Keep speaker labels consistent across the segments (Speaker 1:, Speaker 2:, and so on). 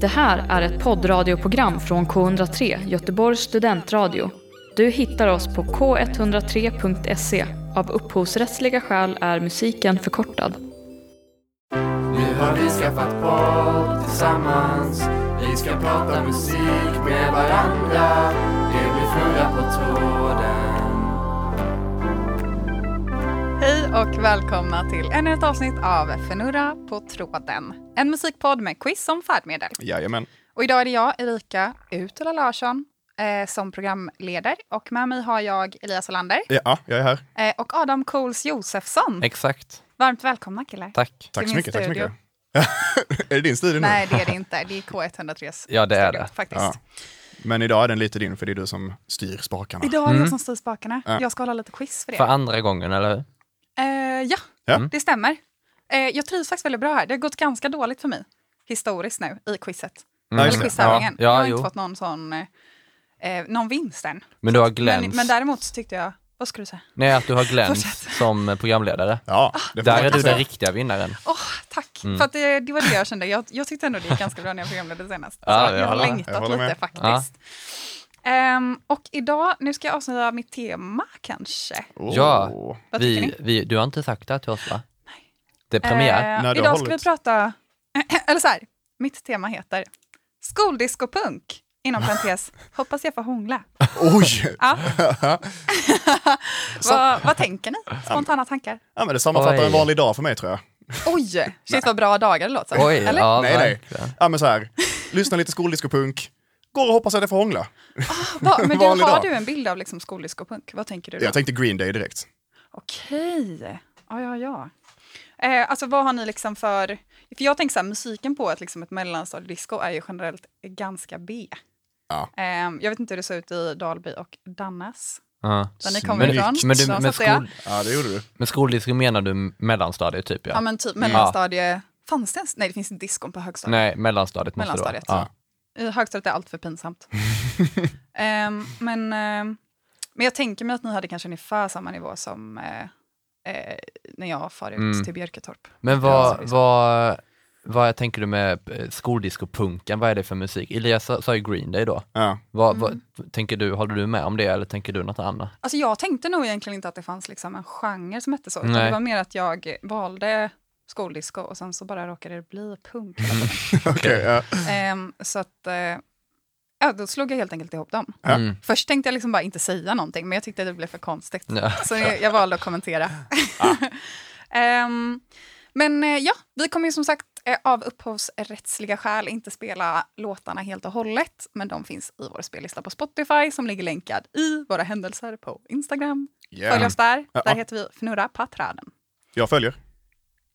Speaker 1: Det här är ett poddradioprogram från K103, Göteborgs studentradio. Du hittar oss på k103.se. Av upphovsrättsliga skäl är musiken förkortad.
Speaker 2: Nu har vi skaffat podd tillsammans Vi ska prata musik med varandra Det blir fnurra på tråden
Speaker 3: Hej och välkomna till ännu ett avsnitt av Fnurra på tråden. En musikpodd med quiz som färdmedel.
Speaker 4: Jajamän.
Speaker 3: Och idag är det jag, Erika Utula Larsson, eh, som programleder. Och med mig har jag Elias Olander
Speaker 4: Ja, jag är här.
Speaker 3: eh, och Adam Cools Josefsson.
Speaker 5: Exakt.
Speaker 3: Varmt välkomna killar.
Speaker 5: Tack.
Speaker 3: Till
Speaker 4: Tack så
Speaker 3: min
Speaker 4: mycket. Tack så
Speaker 3: studio.
Speaker 4: mycket. är det din studio
Speaker 3: Nej,
Speaker 4: nu?
Speaker 3: det är det inte. Det är K103s
Speaker 5: Ja, det är
Speaker 3: studio,
Speaker 5: det.
Speaker 3: Faktiskt.
Speaker 4: Ja. Men idag är den lite din, för det är du som styr spakarna.
Speaker 3: Idag är
Speaker 5: Mm.
Speaker 3: det jag som styr spakarna. Jag ska hålla lite quiz för er.
Speaker 5: För andra gången, eller hur?
Speaker 3: Eh, ja,
Speaker 4: Ja.
Speaker 5: Mm.
Speaker 3: det stämmer. Eh, jag trivs faktiskt väldigt bra här. Det har gått ganska dåligt för mig historiskt nu i quizet.
Speaker 5: Mm.
Speaker 4: Ja, just
Speaker 3: Eller
Speaker 4: det.
Speaker 3: quiztävlingen.
Speaker 5: Ja, ja,
Speaker 3: jag har
Speaker 5: jo.
Speaker 3: inte fått någon sån, eh, någon vinst än.
Speaker 5: Men du har
Speaker 3: Men,
Speaker 5: glänst.
Speaker 3: men däremot så tyckte jag, vad skulle du säga?
Speaker 5: Nej, att du har glänst som programledare.
Speaker 4: Ja, det får man
Speaker 5: Där är
Speaker 4: kanske
Speaker 5: du
Speaker 4: säga.
Speaker 5: den riktiga vinnaren.
Speaker 3: Åh, tack!
Speaker 5: Mm.
Speaker 3: För att det, det var det jag kände. Jag, jag tyckte ändå det gick ganska bra när jag programledde senast.
Speaker 5: Ja,
Speaker 3: Alltså,
Speaker 5: jag
Speaker 3: jag har
Speaker 5: håller med.
Speaker 3: längtat
Speaker 4: Jag håller
Speaker 3: lite
Speaker 4: med.
Speaker 3: faktiskt. Ehm, och idag, nu ska jag avslöja mitt tema kanske.
Speaker 4: Åh.
Speaker 5: Ja.
Speaker 4: Oh.
Speaker 3: Vad tycker
Speaker 5: Vi,
Speaker 3: ni?
Speaker 5: vi, du har inte sagt det här till oss, va? Det är premiär.
Speaker 3: Eh,
Speaker 4: När du har
Speaker 3: idag ska vi
Speaker 4: hållit.
Speaker 3: prata, eller så här, mitt tema heter skoldiscopunk, inom parentes, hoppas jag får hångla.
Speaker 4: Oj!
Speaker 3: Ja.
Speaker 4: Så-
Speaker 3: vad, vad tänker ni? Spontana tankar?
Speaker 4: Ja, men det sammanfattar
Speaker 5: Oj.
Speaker 4: en vanlig dag för mig, tror jag.
Speaker 3: Oj, shit vad bra dagar det låter som.
Speaker 5: Oj,
Speaker 3: Eh, eller?
Speaker 5: ja,
Speaker 4: nej,
Speaker 5: verkligen.
Speaker 4: nej. Ja, men så här. Lyssna lite skoldiscopunk. Går och hoppas att jag får hångla.
Speaker 3: Va, men du,
Speaker 4: Vanlig
Speaker 3: har
Speaker 4: dag.
Speaker 3: du en bild av liksom skoldiscopunk? Vad tänker du då?
Speaker 4: Jag tänkte Green Day direkt.
Speaker 3: Okej. Ja, ja, ja. Eh, alltså vad har ni liksom för... För jag tänker så här, musiken på ett, liksom ett mellanstadiedisco är ju generellt ganska B.
Speaker 4: Ja.
Speaker 3: Eh, jag vet inte hur det såg ut i Dalby och Dannas.
Speaker 5: Ja.
Speaker 3: Där ni kommer ifrån.
Speaker 4: Snyggt.
Speaker 5: Men, du,
Speaker 3: Så
Speaker 5: med,
Speaker 3: satt jag.
Speaker 5: skol,
Speaker 4: Ja, det gjorde du.
Speaker 5: med skoldisco menar du mellanstadiet, typ ja?
Speaker 3: Ja, men typ mellanstadie... Fanns det ens? Nej, det finns inte diskon på högstadiet.
Speaker 5: Nej, mellanstadiet måste det vara.
Speaker 3: Mellanstadiet.
Speaker 5: Ja.
Speaker 3: I Eh, högstadiet är allt för pinsamt. Ehm, men, ehm, men jag tänker mig att ni hade kanske ungefär samma nivå som eh, eh, när jag far ut
Speaker 5: Mm.
Speaker 3: till Björketorp.
Speaker 5: Men
Speaker 3: Ja,
Speaker 5: vad,
Speaker 3: precis.
Speaker 5: vad, vad tänker du med eh, skoldisco-punken? Vad är det för musik? Elias sa sa ju Green Day då.
Speaker 4: Ja.
Speaker 5: Vad, vad, tänker du, håller du med om det eller tänker du något annat?
Speaker 3: Alltså jag tänkte nog egentligen inte att det fanns liksom en genre som hette så, utan
Speaker 5: Nej.
Speaker 3: det var mer att jag valde skoldisco och sen så bara råkade det bli punk. hela tiden.
Speaker 4: Okej, ja.
Speaker 3: Ehm, så att, eh, ja, då slog jag helt enkelt ihop dem.
Speaker 4: Ja.
Speaker 5: Mm.
Speaker 3: Först tänkte jag liksom bara inte säga någonting, men jag tyckte att det blev för konstigt.
Speaker 5: Ja. Ah.
Speaker 3: Så jag, jag valde att kommentera. Ehm, men eh, ja, vi kommer ju som sagt eh, av upphovsrättsliga skäl inte spela låtarna helt och hållet, men de finns i vår spellista på Spotify som ligger länkad i våra händelser på Instagram. Följ
Speaker 4: Yeah.
Speaker 3: oss där.
Speaker 4: Ja.
Speaker 3: Där heter vi Fnurra på träden.
Speaker 4: Jag följer.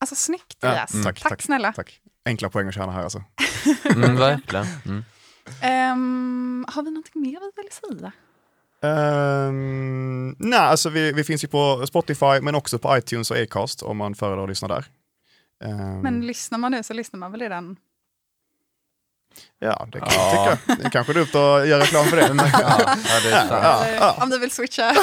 Speaker 3: Alltså snyggt,
Speaker 4: Ja,
Speaker 3: Elias.
Speaker 4: mm.
Speaker 3: Tack,
Speaker 4: Tack, tack.
Speaker 3: snälla.
Speaker 4: Tack. Enkla poäng att tjäna här alltså.
Speaker 5: Mm, verkligen. Mm.
Speaker 3: Ehm, har vi någonting mer vi vill säga?
Speaker 4: Ehm, nej, alltså vi, vi finns ju på Spotify men också på iTunes och Acast om man föredrar att lyssna där. Ehm,
Speaker 3: Men lyssnar man nu så lyssnar man väl redan
Speaker 4: ja, det kan jag tycka. Det är kanske dumt att göra reklam för det.
Speaker 5: Ja, ja, det är sant.
Speaker 4: Ja, ja.
Speaker 3: eh, Om du vill switcha.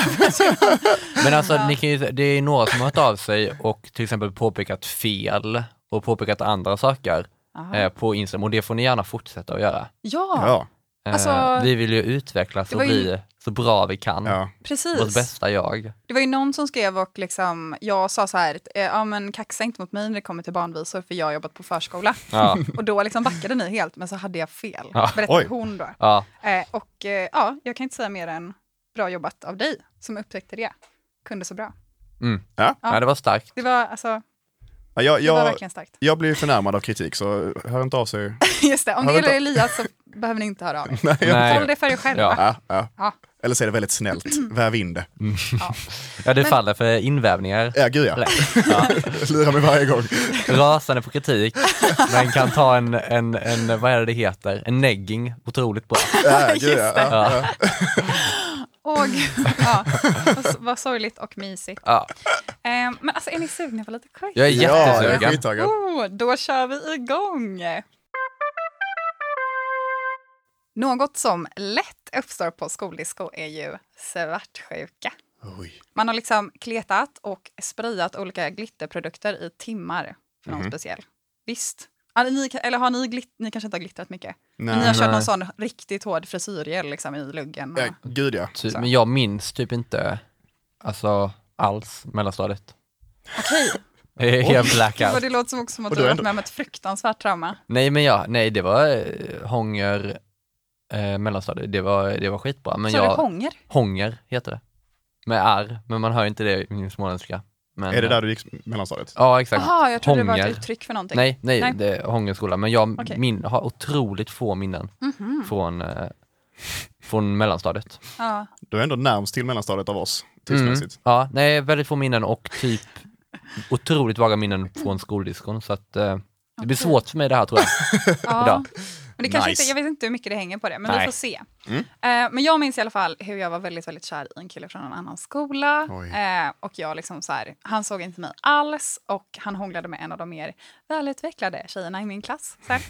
Speaker 5: Men alltså, ni kan ju, det är några som har hört av sig och till exempel påpekat fel och påpekat andra saker
Speaker 3: Jaha.
Speaker 5: eh, på Instagram och det får ni gärna fortsätta att göra.
Speaker 3: Ja,
Speaker 4: Ja,
Speaker 5: Eh,
Speaker 3: Alltså,
Speaker 5: vi vill ju utvecklas
Speaker 3: det
Speaker 5: och
Speaker 3: var ju-
Speaker 5: bli så bra vi kan.
Speaker 4: ja.
Speaker 5: Vårt
Speaker 3: precis.
Speaker 5: bästa jag.
Speaker 3: Det var ju någon som skrev och liksom, jag sa så här, eh, ja men kaxa inte mot mig när det kommer till barnvisor för jag har jobbat på förskola.
Speaker 5: Ja,
Speaker 3: Och då liksom backade ni helt, men så hade jag fel,
Speaker 5: Ja.
Speaker 3: berättade
Speaker 4: Oj.
Speaker 3: hon då.
Speaker 5: ja,
Speaker 3: Eh, och eh, ja, jag kan inte säga mer än bra jobbat av dig som upptäckte det. Kunde så bra. Ja.
Speaker 5: ja. det var starkt.
Speaker 3: Det var, alltså,
Speaker 4: Ja, Jag,
Speaker 3: det var
Speaker 4: jag,
Speaker 3: verkligen starkt.
Speaker 4: jag blir förnärmad av kritik så hör inte av sig.
Speaker 3: Just det, om det
Speaker 4: Ja,
Speaker 3: gäller
Speaker 4: vänta.
Speaker 3: Elias så behöver ni inte höra av er. Håll
Speaker 5: Nej.
Speaker 3: det för er själva.
Speaker 5: Ja.
Speaker 4: Ja, ja.
Speaker 3: Ja.
Speaker 4: Eller säg det väldigt snällt, väv in det.
Speaker 5: ja, det
Speaker 3: Men-
Speaker 5: faller för invävningar.
Speaker 4: Ja, gud ja.
Speaker 5: Eller- Ja.
Speaker 4: Lurar mig varje gång.
Speaker 5: Rasande på kritik, men kan ta en, en, en, vad är det det heter, en negging, otroligt bra.
Speaker 4: Ja, gud ja. ja.
Speaker 5: Ja,
Speaker 3: Åh, gud. ja. Vad- Vad sorgligt och mysigt.
Speaker 5: ja.
Speaker 3: Eh, men alltså, är ni sugna på lite quiz?
Speaker 5: Jag är
Speaker 4: Ja, jag är
Speaker 5: jättesugen.
Speaker 4: skittaggad.
Speaker 3: Oh, då kör vi igång! Något som lätt uppstår på skoldisco är ju svartsjuka.
Speaker 4: Oj.
Speaker 3: Man har liksom
Speaker 5: Mhm.
Speaker 3: kletat och sprayat olika glitterprodukter i timmar för någon speciell. Visst, Ja, Ni, eller har ni, glitt, ni kanske inte har glittrat mycket? Men ni har
Speaker 4: Nej.
Speaker 3: kört någon
Speaker 5: Nej.
Speaker 3: sån riktigt hård frisyrgel liksom, i luggen? Och,
Speaker 4: Ja, gud ja.
Speaker 5: Typ,
Speaker 3: Så.
Speaker 5: men jag minns typ inte alltså, alls mellanstadiet.
Speaker 3: Okej,
Speaker 5: Jag är helt
Speaker 3: Gud, vad
Speaker 5: blackout.
Speaker 3: det låter som också som att
Speaker 4: Och
Speaker 3: du
Speaker 4: då
Speaker 3: har varit
Speaker 4: ändå-
Speaker 3: med om ett fruktansvärt trauma.
Speaker 5: Nej men ja, nej det var eh, hånger eh, mellanstadiet, det var, det var skitbra. Men
Speaker 3: så
Speaker 5: jag,
Speaker 3: det hånger?
Speaker 5: hånger heter det. Med R, men man hör inte det i min småländska. Men, eh,
Speaker 4: Är det där du gick mellanstadiet?
Speaker 5: Ja exakt.
Speaker 3: Jaha, jag trodde det var ett
Speaker 5: Hånger.
Speaker 3: uttryck för någonting.
Speaker 5: Nej, nej,
Speaker 3: Nej.
Speaker 5: det är Hångenskolan, men jag
Speaker 3: Okej.
Speaker 5: min, har otroligt få minnen
Speaker 3: Mhm.
Speaker 5: från, eh, från mellanstadiet.
Speaker 3: Ja.
Speaker 4: Du är ändå närmst till mellanstadiet av oss, tidsmässigt.
Speaker 5: Mm. Ja, nej, väldigt få minnen och typ otroligt vaga minnen från skoldiskon, så att eh, det blir
Speaker 3: Okej.
Speaker 5: svårt för mig det här tror jag.
Speaker 3: Ja.
Speaker 5: Idag.
Speaker 3: Men det kanske
Speaker 4: Nice.
Speaker 3: inte, jag vet inte hur mycket det hänger på det, men vi
Speaker 5: Nej.
Speaker 3: får se.
Speaker 4: Mm.
Speaker 3: Eh, men jag minns i alla fall hur jag var väldigt, väldigt kär i en kille från en annan skola.
Speaker 4: Oj.
Speaker 3: Eh, och jag liksom så här, han såg inte mig alls och han hånglade med en av de mer välutvecklade tjejerna i min klass. Så här.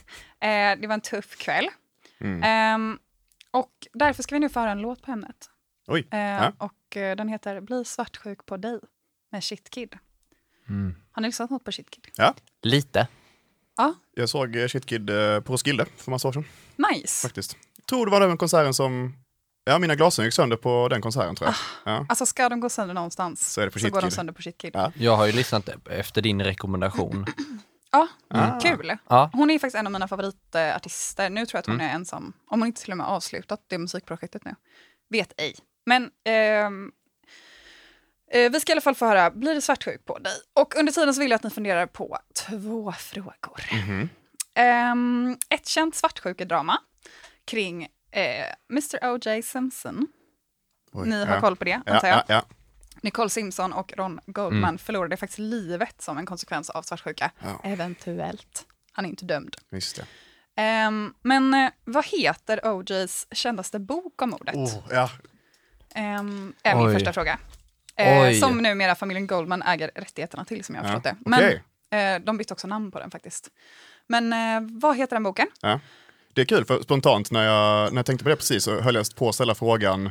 Speaker 3: Eh, det var en tuff kväll.
Speaker 4: Mm.
Speaker 3: Ehm, och därför ska vi nu föra en låt på ämnet.
Speaker 4: Oj.
Speaker 3: Eh,
Speaker 4: Ja.
Speaker 3: Och eh, den heter Bli svartsjuk på dig med Shitkid.
Speaker 5: Mm.
Speaker 3: Har ni lyssnat något på Shitkid?
Speaker 5: Lite.
Speaker 3: Ja,
Speaker 4: Jag såg eh, Shit Kid eh, på Roskilde för massa år sedan,
Speaker 3: nice.
Speaker 4: faktiskt. Tror det var den konserten som... Ja, mina glasögon gick sönder på den konserten, tror jag. Ja.
Speaker 3: Alltså ska de gå sönder någonstans
Speaker 4: Så är det på
Speaker 3: så går de
Speaker 4: Shitkid.
Speaker 3: sönder på Shitkid.
Speaker 4: Ja.
Speaker 5: Jag har ju lyssnat efter din rekommendation.
Speaker 3: Ja, mm,
Speaker 4: Ah.
Speaker 3: kul.
Speaker 5: Mm. Ja. Mm.
Speaker 3: Hon är faktiskt en av mina favoritartister. Nu tror jag att hon är ensam, om hon inte till och med avslutat det musikprojektet nu. Vet ej. Men ehm, eh, vi ska i alla fall få höra Blir det svartsjuk på dig? Och under tiden så vill jag att ni funderar på två frågor.
Speaker 5: Mm-hmm.
Speaker 3: Ehm, ett känt svartsjukedrama kring eh, Mr O.J. Simpson.
Speaker 4: Oj.
Speaker 3: Ni har
Speaker 4: ja.
Speaker 3: koll på det,
Speaker 4: ja,
Speaker 3: antar jag.
Speaker 4: ja, ja.
Speaker 3: Nicole Simpson och Ron Goldman förlorade faktiskt livet som en konsekvens av svartsjuka.
Speaker 4: Mm. Ja.
Speaker 3: Eventuellt. Han är inte dömd.
Speaker 4: Just det.
Speaker 3: Ehm, men eh, vad heter OJs kändaste bok om mordet?
Speaker 4: Oh, ja.
Speaker 3: Ehm, är min
Speaker 5: Oj.
Speaker 3: första fråga. Eh,
Speaker 5: Oj.
Speaker 3: som numera familjen Goldman äger rättigheterna till, som jag har
Speaker 4: Ja,
Speaker 3: förstått det.
Speaker 4: okej.
Speaker 3: Men eh, de bytte också namn på den faktiskt. Men eh, vad heter den boken?
Speaker 4: Ja. Det är kul, för spontant när jag, när jag tänkte på det precis så höll jag på att ställa frågan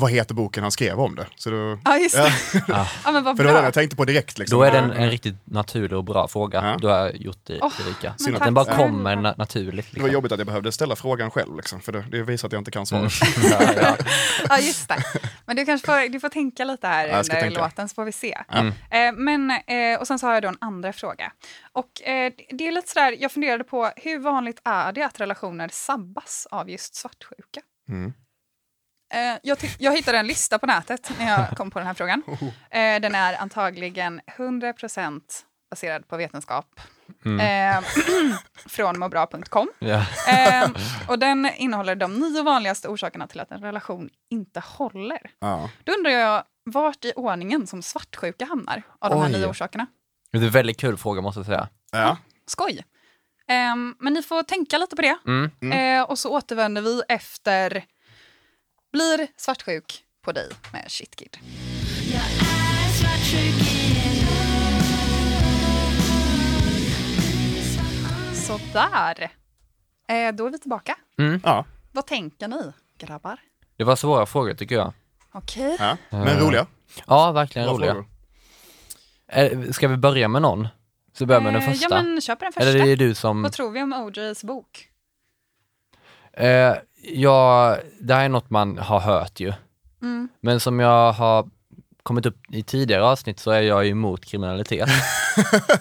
Speaker 4: vad heter boken han skrev om det? Så då,
Speaker 3: Ja, just det. Ja, men vad
Speaker 4: för det var den
Speaker 3: Ah, bra.
Speaker 4: jag tänkte på direkt. Liksom.
Speaker 5: Då är det en, en riktigt naturlig och bra fråga
Speaker 4: Ja.
Speaker 5: du har gjort det,
Speaker 3: Åh,
Speaker 5: Erika.
Speaker 3: men
Speaker 5: Den
Speaker 3: tack
Speaker 5: bara
Speaker 3: så
Speaker 5: kommer
Speaker 3: mycket.
Speaker 5: na- naturligt.
Speaker 4: Det var
Speaker 5: Liksom.
Speaker 4: jobbigt att jag behövde ställa frågan själv, liksom, för det, det visar att jag inte kan
Speaker 5: Mm.
Speaker 4: svaret.
Speaker 5: Ja, ja.
Speaker 3: Ja, just det. Men du kanske får, du får tänka lite här
Speaker 4: jag ska
Speaker 3: under
Speaker 4: tänka.
Speaker 3: låten så får vi se. Eh, men, eh, och sen så har jag då en andra fråga. Och eh, det är lite sådär, jag funderade på hur vanligt är det att relationer sabbas av just svartsjuka?
Speaker 4: Mm.
Speaker 3: Eh, jag, ty- jag hittade en lista på nätet när jag kom på den här frågan.
Speaker 4: Oh.
Speaker 3: Eh, den är antagligen 100% baserad på vetenskap.
Speaker 4: Mm.
Speaker 3: Eh, från måbra.com.
Speaker 5: Ja.
Speaker 3: Eh, och den innehåller de nio vanligaste orsakerna till att en relation inte håller.
Speaker 4: Ja.
Speaker 3: Då undrar jag vart i ordningen som svartsjuka hamnar av de här
Speaker 5: Oj.
Speaker 3: nio orsakerna.
Speaker 5: Det är en väldigt kul fråga måste jag säga.
Speaker 4: Ja.
Speaker 3: Skoj! Ehm, men ni får tänka lite på det.
Speaker 5: Mm.
Speaker 3: Eh, och så återvänder vi efter Blir svartsjuk på dig med Shitkid. Sådär. Eh, då är vi tillbaka.
Speaker 4: Ja.
Speaker 3: Vad tänker ni, grabbar?
Speaker 5: Det var svåra frågor tycker jag.
Speaker 3: Okej.
Speaker 4: ja. Men roliga.
Speaker 5: Ja, verkligen
Speaker 4: Bra
Speaker 5: Eh, roliga.
Speaker 4: frågor.
Speaker 5: Eh, Ska vi börja med någon? Så börjar med den
Speaker 3: Eh,
Speaker 5: första.
Speaker 3: Ja, men köp den första.
Speaker 5: Eller är det du som...
Speaker 3: Vad tror vi om OJs bok?
Speaker 5: Eh, ja, det här är något man har hört ju.
Speaker 3: Mm.
Speaker 5: Men som jag har kommit upp i tidigare avsnitt så är jag ju emot kriminalitet.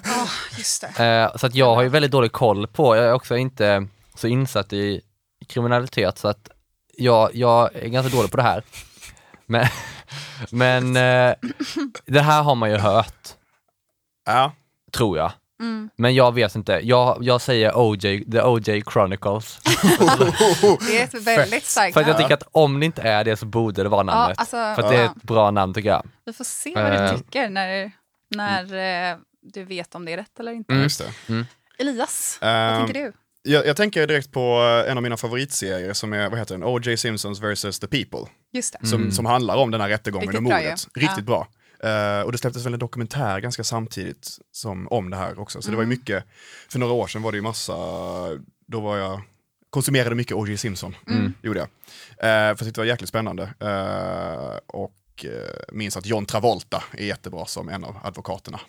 Speaker 3: Ja, just det.
Speaker 5: Eh, så att jag har ju väldigt dålig koll på, jag är också inte så insatt i kriminalitet så att jag, jag är ganska dålig på det här. Men, men eh, det här har man ju hört,
Speaker 4: Ja.
Speaker 5: tror jag.
Speaker 3: Mm.
Speaker 5: Men jag vet inte, jag, jag säger OJ, The OJ Chronicles.
Speaker 3: Det är ett väldigt starkt
Speaker 5: För att jag
Speaker 3: namn.
Speaker 5: tycker att om det inte är det så borde det vara
Speaker 3: ja,
Speaker 5: namnet.
Speaker 3: alltså,
Speaker 5: För att det är
Speaker 3: ja. Mm.
Speaker 5: ett bra namn tycker jag.
Speaker 3: Vi får se vad du
Speaker 5: Eh.
Speaker 3: tycker när, när eh, du vet om det är rätt eller inte.
Speaker 5: Mm.
Speaker 4: Just det.
Speaker 3: Elias,
Speaker 4: Ehm,
Speaker 3: vad tänker du?
Speaker 4: Jag, jag tänker direkt på eh, en av mina favoritserier som är, vad heter den, O.J. Simpsons vs. The People.
Speaker 3: Just det.
Speaker 4: Som, som handlar om den här rättegången
Speaker 3: Riktigt
Speaker 4: och
Speaker 3: bra
Speaker 4: mordet.
Speaker 3: ju.
Speaker 4: Riktigt bra. Eh, och det släpptes väl en dokumentär ganska samtidigt som, om det här också. Så det var
Speaker 3: Mm.
Speaker 4: ju mycket, för några år sedan var det ju massa, då var jag, konsumerade mycket O.J. Simpson.
Speaker 3: Mm.
Speaker 4: mm. Gjorde jag. Eh, för jag tyckte det var jäkligt spännande. Eh, och eh, minns att John Travolta är jättebra
Speaker 3: Mm.
Speaker 4: som en av advokaterna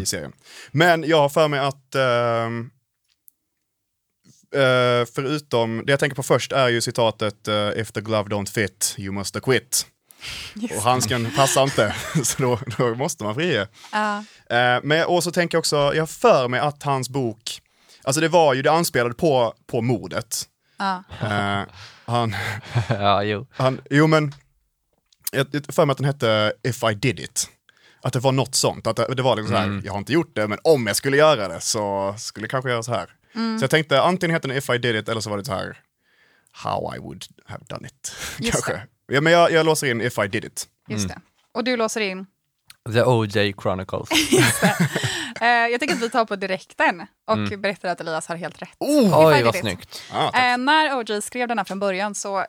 Speaker 4: i serien. Men jag har för mig att ehm, eh, förutom, det jag tänker på först är ju citatet eh, “If the glove don't fit, you must acquit”. Och handsken passar inte, så då, då måste man frige.
Speaker 3: Ja.
Speaker 4: Eh, men, och så tänker jag också, jag har för mig att hans bok, alltså det var ju, det anspelade på, på mordet.
Speaker 3: Ja.
Speaker 4: Eh, han,
Speaker 5: ja, jo.
Speaker 4: han, jo men, jag jag har för mig att den hette If I Did It. Att det var något sånt, att det, det var liksom så här, jag har inte gjort det, men om jag skulle göra det så skulle jag kanske göra så här.
Speaker 3: Mm.
Speaker 4: Så jag tänkte, antingen hette den If I Did It eller så var det så här, How I Would Have Done It,
Speaker 3: Just
Speaker 4: kanske. Ja, men jag, jag låser in If I Did It.
Speaker 3: Just
Speaker 5: Mm.
Speaker 3: det. Och du låser in.
Speaker 5: The OJ Chronicles.
Speaker 3: Eh, jag tänker att vi tar på direkten och
Speaker 5: Mm.
Speaker 3: berättar att Elias har helt rätt.
Speaker 5: Oj, vad
Speaker 3: Färdigt.
Speaker 5: snyggt.
Speaker 4: Ah, tack.
Speaker 3: Eh, när OJ skrev den här från början så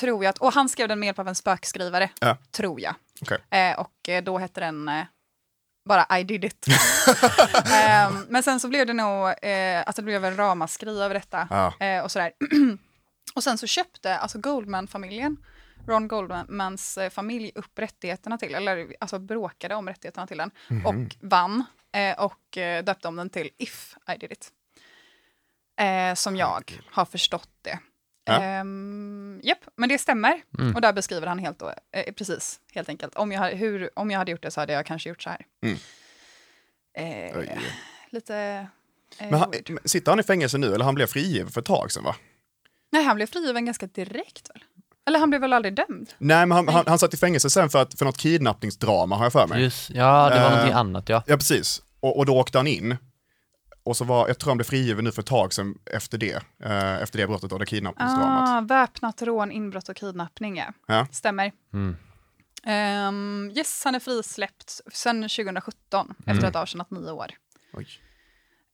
Speaker 3: tror jag att, och han skrev den med hjälp av en spökskrivare,
Speaker 4: Ja.
Speaker 3: tror jag.
Speaker 4: Okej.
Speaker 3: Eh, och eh, då hette den eh, bara I did it. eh, men sen så blev det nog, eh, alltså det blev en ramaskri över detta.
Speaker 4: Ja.
Speaker 3: Eh, och sådär. och sen så köpte alltså Goldman-familjen, Ron Goldmans eh, familj upp rättigheterna till, eller alltså bråkade om rättigheterna till den och vann eh, och eh, döpte om den till If I did it. Eh, som jag har förstått det.
Speaker 4: Ja. Mm.
Speaker 3: Ehm, Japp, men det stämmer. Och där beskriver han helt då, eh, precis, helt enkelt. Om jag, ha- hur, om jag hade gjort det så hade jag kanske gjort så här.
Speaker 4: Mm.
Speaker 3: Eh,
Speaker 4: Oj.
Speaker 3: lite... Eh,
Speaker 4: Men han,
Speaker 3: weird.
Speaker 4: men sitter han i fängelse nu eller han blev frigiven för ett tag sedan va?
Speaker 3: Nej, han blev frigiven ganska direkt väl? Eller han blev väl aldrig dömd?
Speaker 4: Nej, men han, han, han satt i fängelse sen för, att, för något kidnappningsdrama har jag för mig.
Speaker 5: Just, ja, det var
Speaker 4: Eh,
Speaker 5: någonting annat ja.
Speaker 4: Ja, precis. Och, och då åkte han in. Och så var, jag tror han blev frigiven nu för ett tag sedan efter det. Eh, efter det brottet och det kidnappningsdramat.
Speaker 3: Ah, väpnat rån, inbrott och kidnappning, ja.
Speaker 4: Ja.
Speaker 3: Stämmer.
Speaker 5: Mm.
Speaker 3: Ehm, yes, han är frisläppt sen 2017
Speaker 4: Mm.
Speaker 3: efter att ha avtjänat nio år.
Speaker 4: Oj.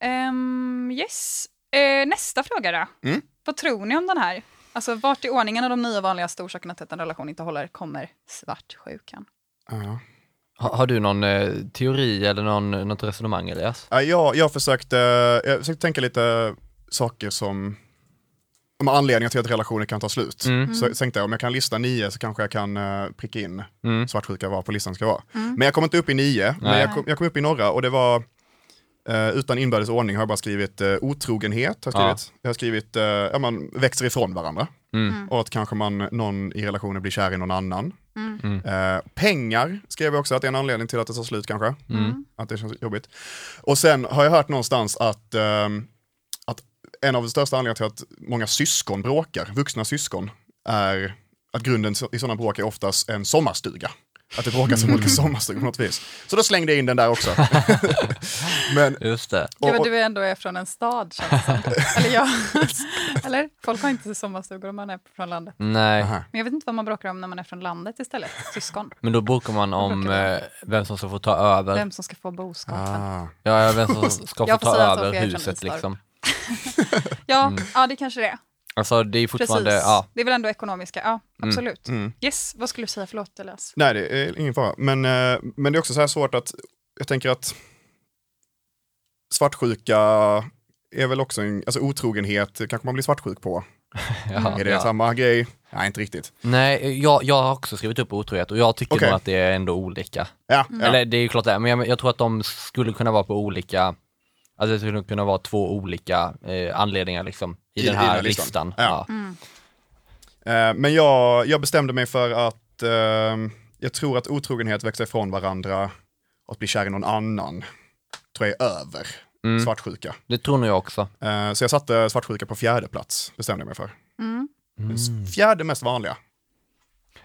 Speaker 3: Ehm, yes. Eh, nästa fråga då.
Speaker 4: Mm.
Speaker 3: Vad tror ni om den här? Alltså vart i ordningen av de nio vanligaste orsakerna till att en relation inte håller kommer svartsjukan?
Speaker 4: Ja.
Speaker 5: Ha, har du någon eh, teori eller någon, något resonemang Elias?
Speaker 4: Ja, jag, jag, försökte, jag försökte tänka lite saker som om anledningar till att relationer kan ta slut.
Speaker 5: Mm.
Speaker 4: Så tänkte jag om jag kan lista nio så kanske jag kan eh, pricka in svartsjuka var på listan ska vara. Men jag kom inte upp i nio, men
Speaker 5: Mm. Nej.
Speaker 4: jag kom, jag kom upp i några och det var eh, utan inbördes ordning har jag bara skrivit eh, otrogenhet, har jag
Speaker 5: Ja.
Speaker 4: skrivit. Jag har skrivit eh, ja, man växer ifrån varandra
Speaker 5: Mm.
Speaker 4: och att kanske man, någon i relationen blir kär i någon annan.
Speaker 3: Mm.
Speaker 4: Eh, pengar skrev jag också att det är en anledning till att det tar slut kanske
Speaker 5: Mm.
Speaker 4: att det känns jobbigt. Och sen har jag hört någonstans att, ehm, att en av de största anledningarna till att många syskon bråkar, vuxna syskon, är att grunden så- i sådana bråk är oftast en sommarstuga. Att det bråkas om olika sommarstugor på något vis. Så då slängde jag in den där också. Men,
Speaker 5: Just det.
Speaker 3: Ja, men
Speaker 4: och, och,
Speaker 3: du är ändå är från en stad känns det som. Eller ja. Eller? Folk har inte sommarstugor om man är från landet.
Speaker 5: Nej,
Speaker 4: aha.
Speaker 3: Men jag vet inte vad man bråkar om när man är från landet istället. Syskon.
Speaker 5: men då bråkar man om eh, vem som ska få ta över.
Speaker 3: Vem som ska få boskapen.
Speaker 4: Ah.
Speaker 5: Ja, ja, vem som ska få
Speaker 3: Jag får
Speaker 5: ta
Speaker 3: säga så, för
Speaker 5: över
Speaker 3: jag är från
Speaker 5: huset
Speaker 3: Istorp.
Speaker 5: liksom.
Speaker 3: Ja, ja, det kanske det är.
Speaker 5: Alltså det är
Speaker 3: Precis.
Speaker 5: fortfarande, ja.
Speaker 3: Det är väl ändå ekonomiska. Ja, absolut.
Speaker 4: Mm.
Speaker 3: Yes, vad skulle du säga? Förlåt, Elias.
Speaker 4: Nej, det är ingen fara. Men, eh, men det är också så här svårt att, jag tänker att svartsjuka är väl också en, alltså otrogenhet kanske man blir svartsjuk på.
Speaker 3: Mm.
Speaker 5: ja,
Speaker 4: Är det
Speaker 5: ja.
Speaker 4: samma grej? Nej, inte riktigt.
Speaker 5: Nej, jag, jag har också skrivit upp otrohet och jag tycker
Speaker 4: Okej.
Speaker 5: nog att det är ändå olika.
Speaker 4: Ja, ja.
Speaker 5: Eller det är ju klart det är, men jag, jag tror att de skulle kunna vara på olika, alltså det skulle kunna vara två olika eh, anledningar liksom i, den här listan. Ja. Mm.
Speaker 4: Eh, Men jag, jag bestämde mig för att eh, jag tror att otrogenhet växer ifrån varandra och att bli kär i någon annan tror jag är över
Speaker 5: Mm.
Speaker 4: svartsjuka.
Speaker 5: Det tror nog jag också.
Speaker 4: Eh, Så jag satte svartsjuka på fjärde plats, bestämde jag mig för.
Speaker 3: Mm.
Speaker 5: Mm.
Speaker 4: Den Fjärde mest vanliga.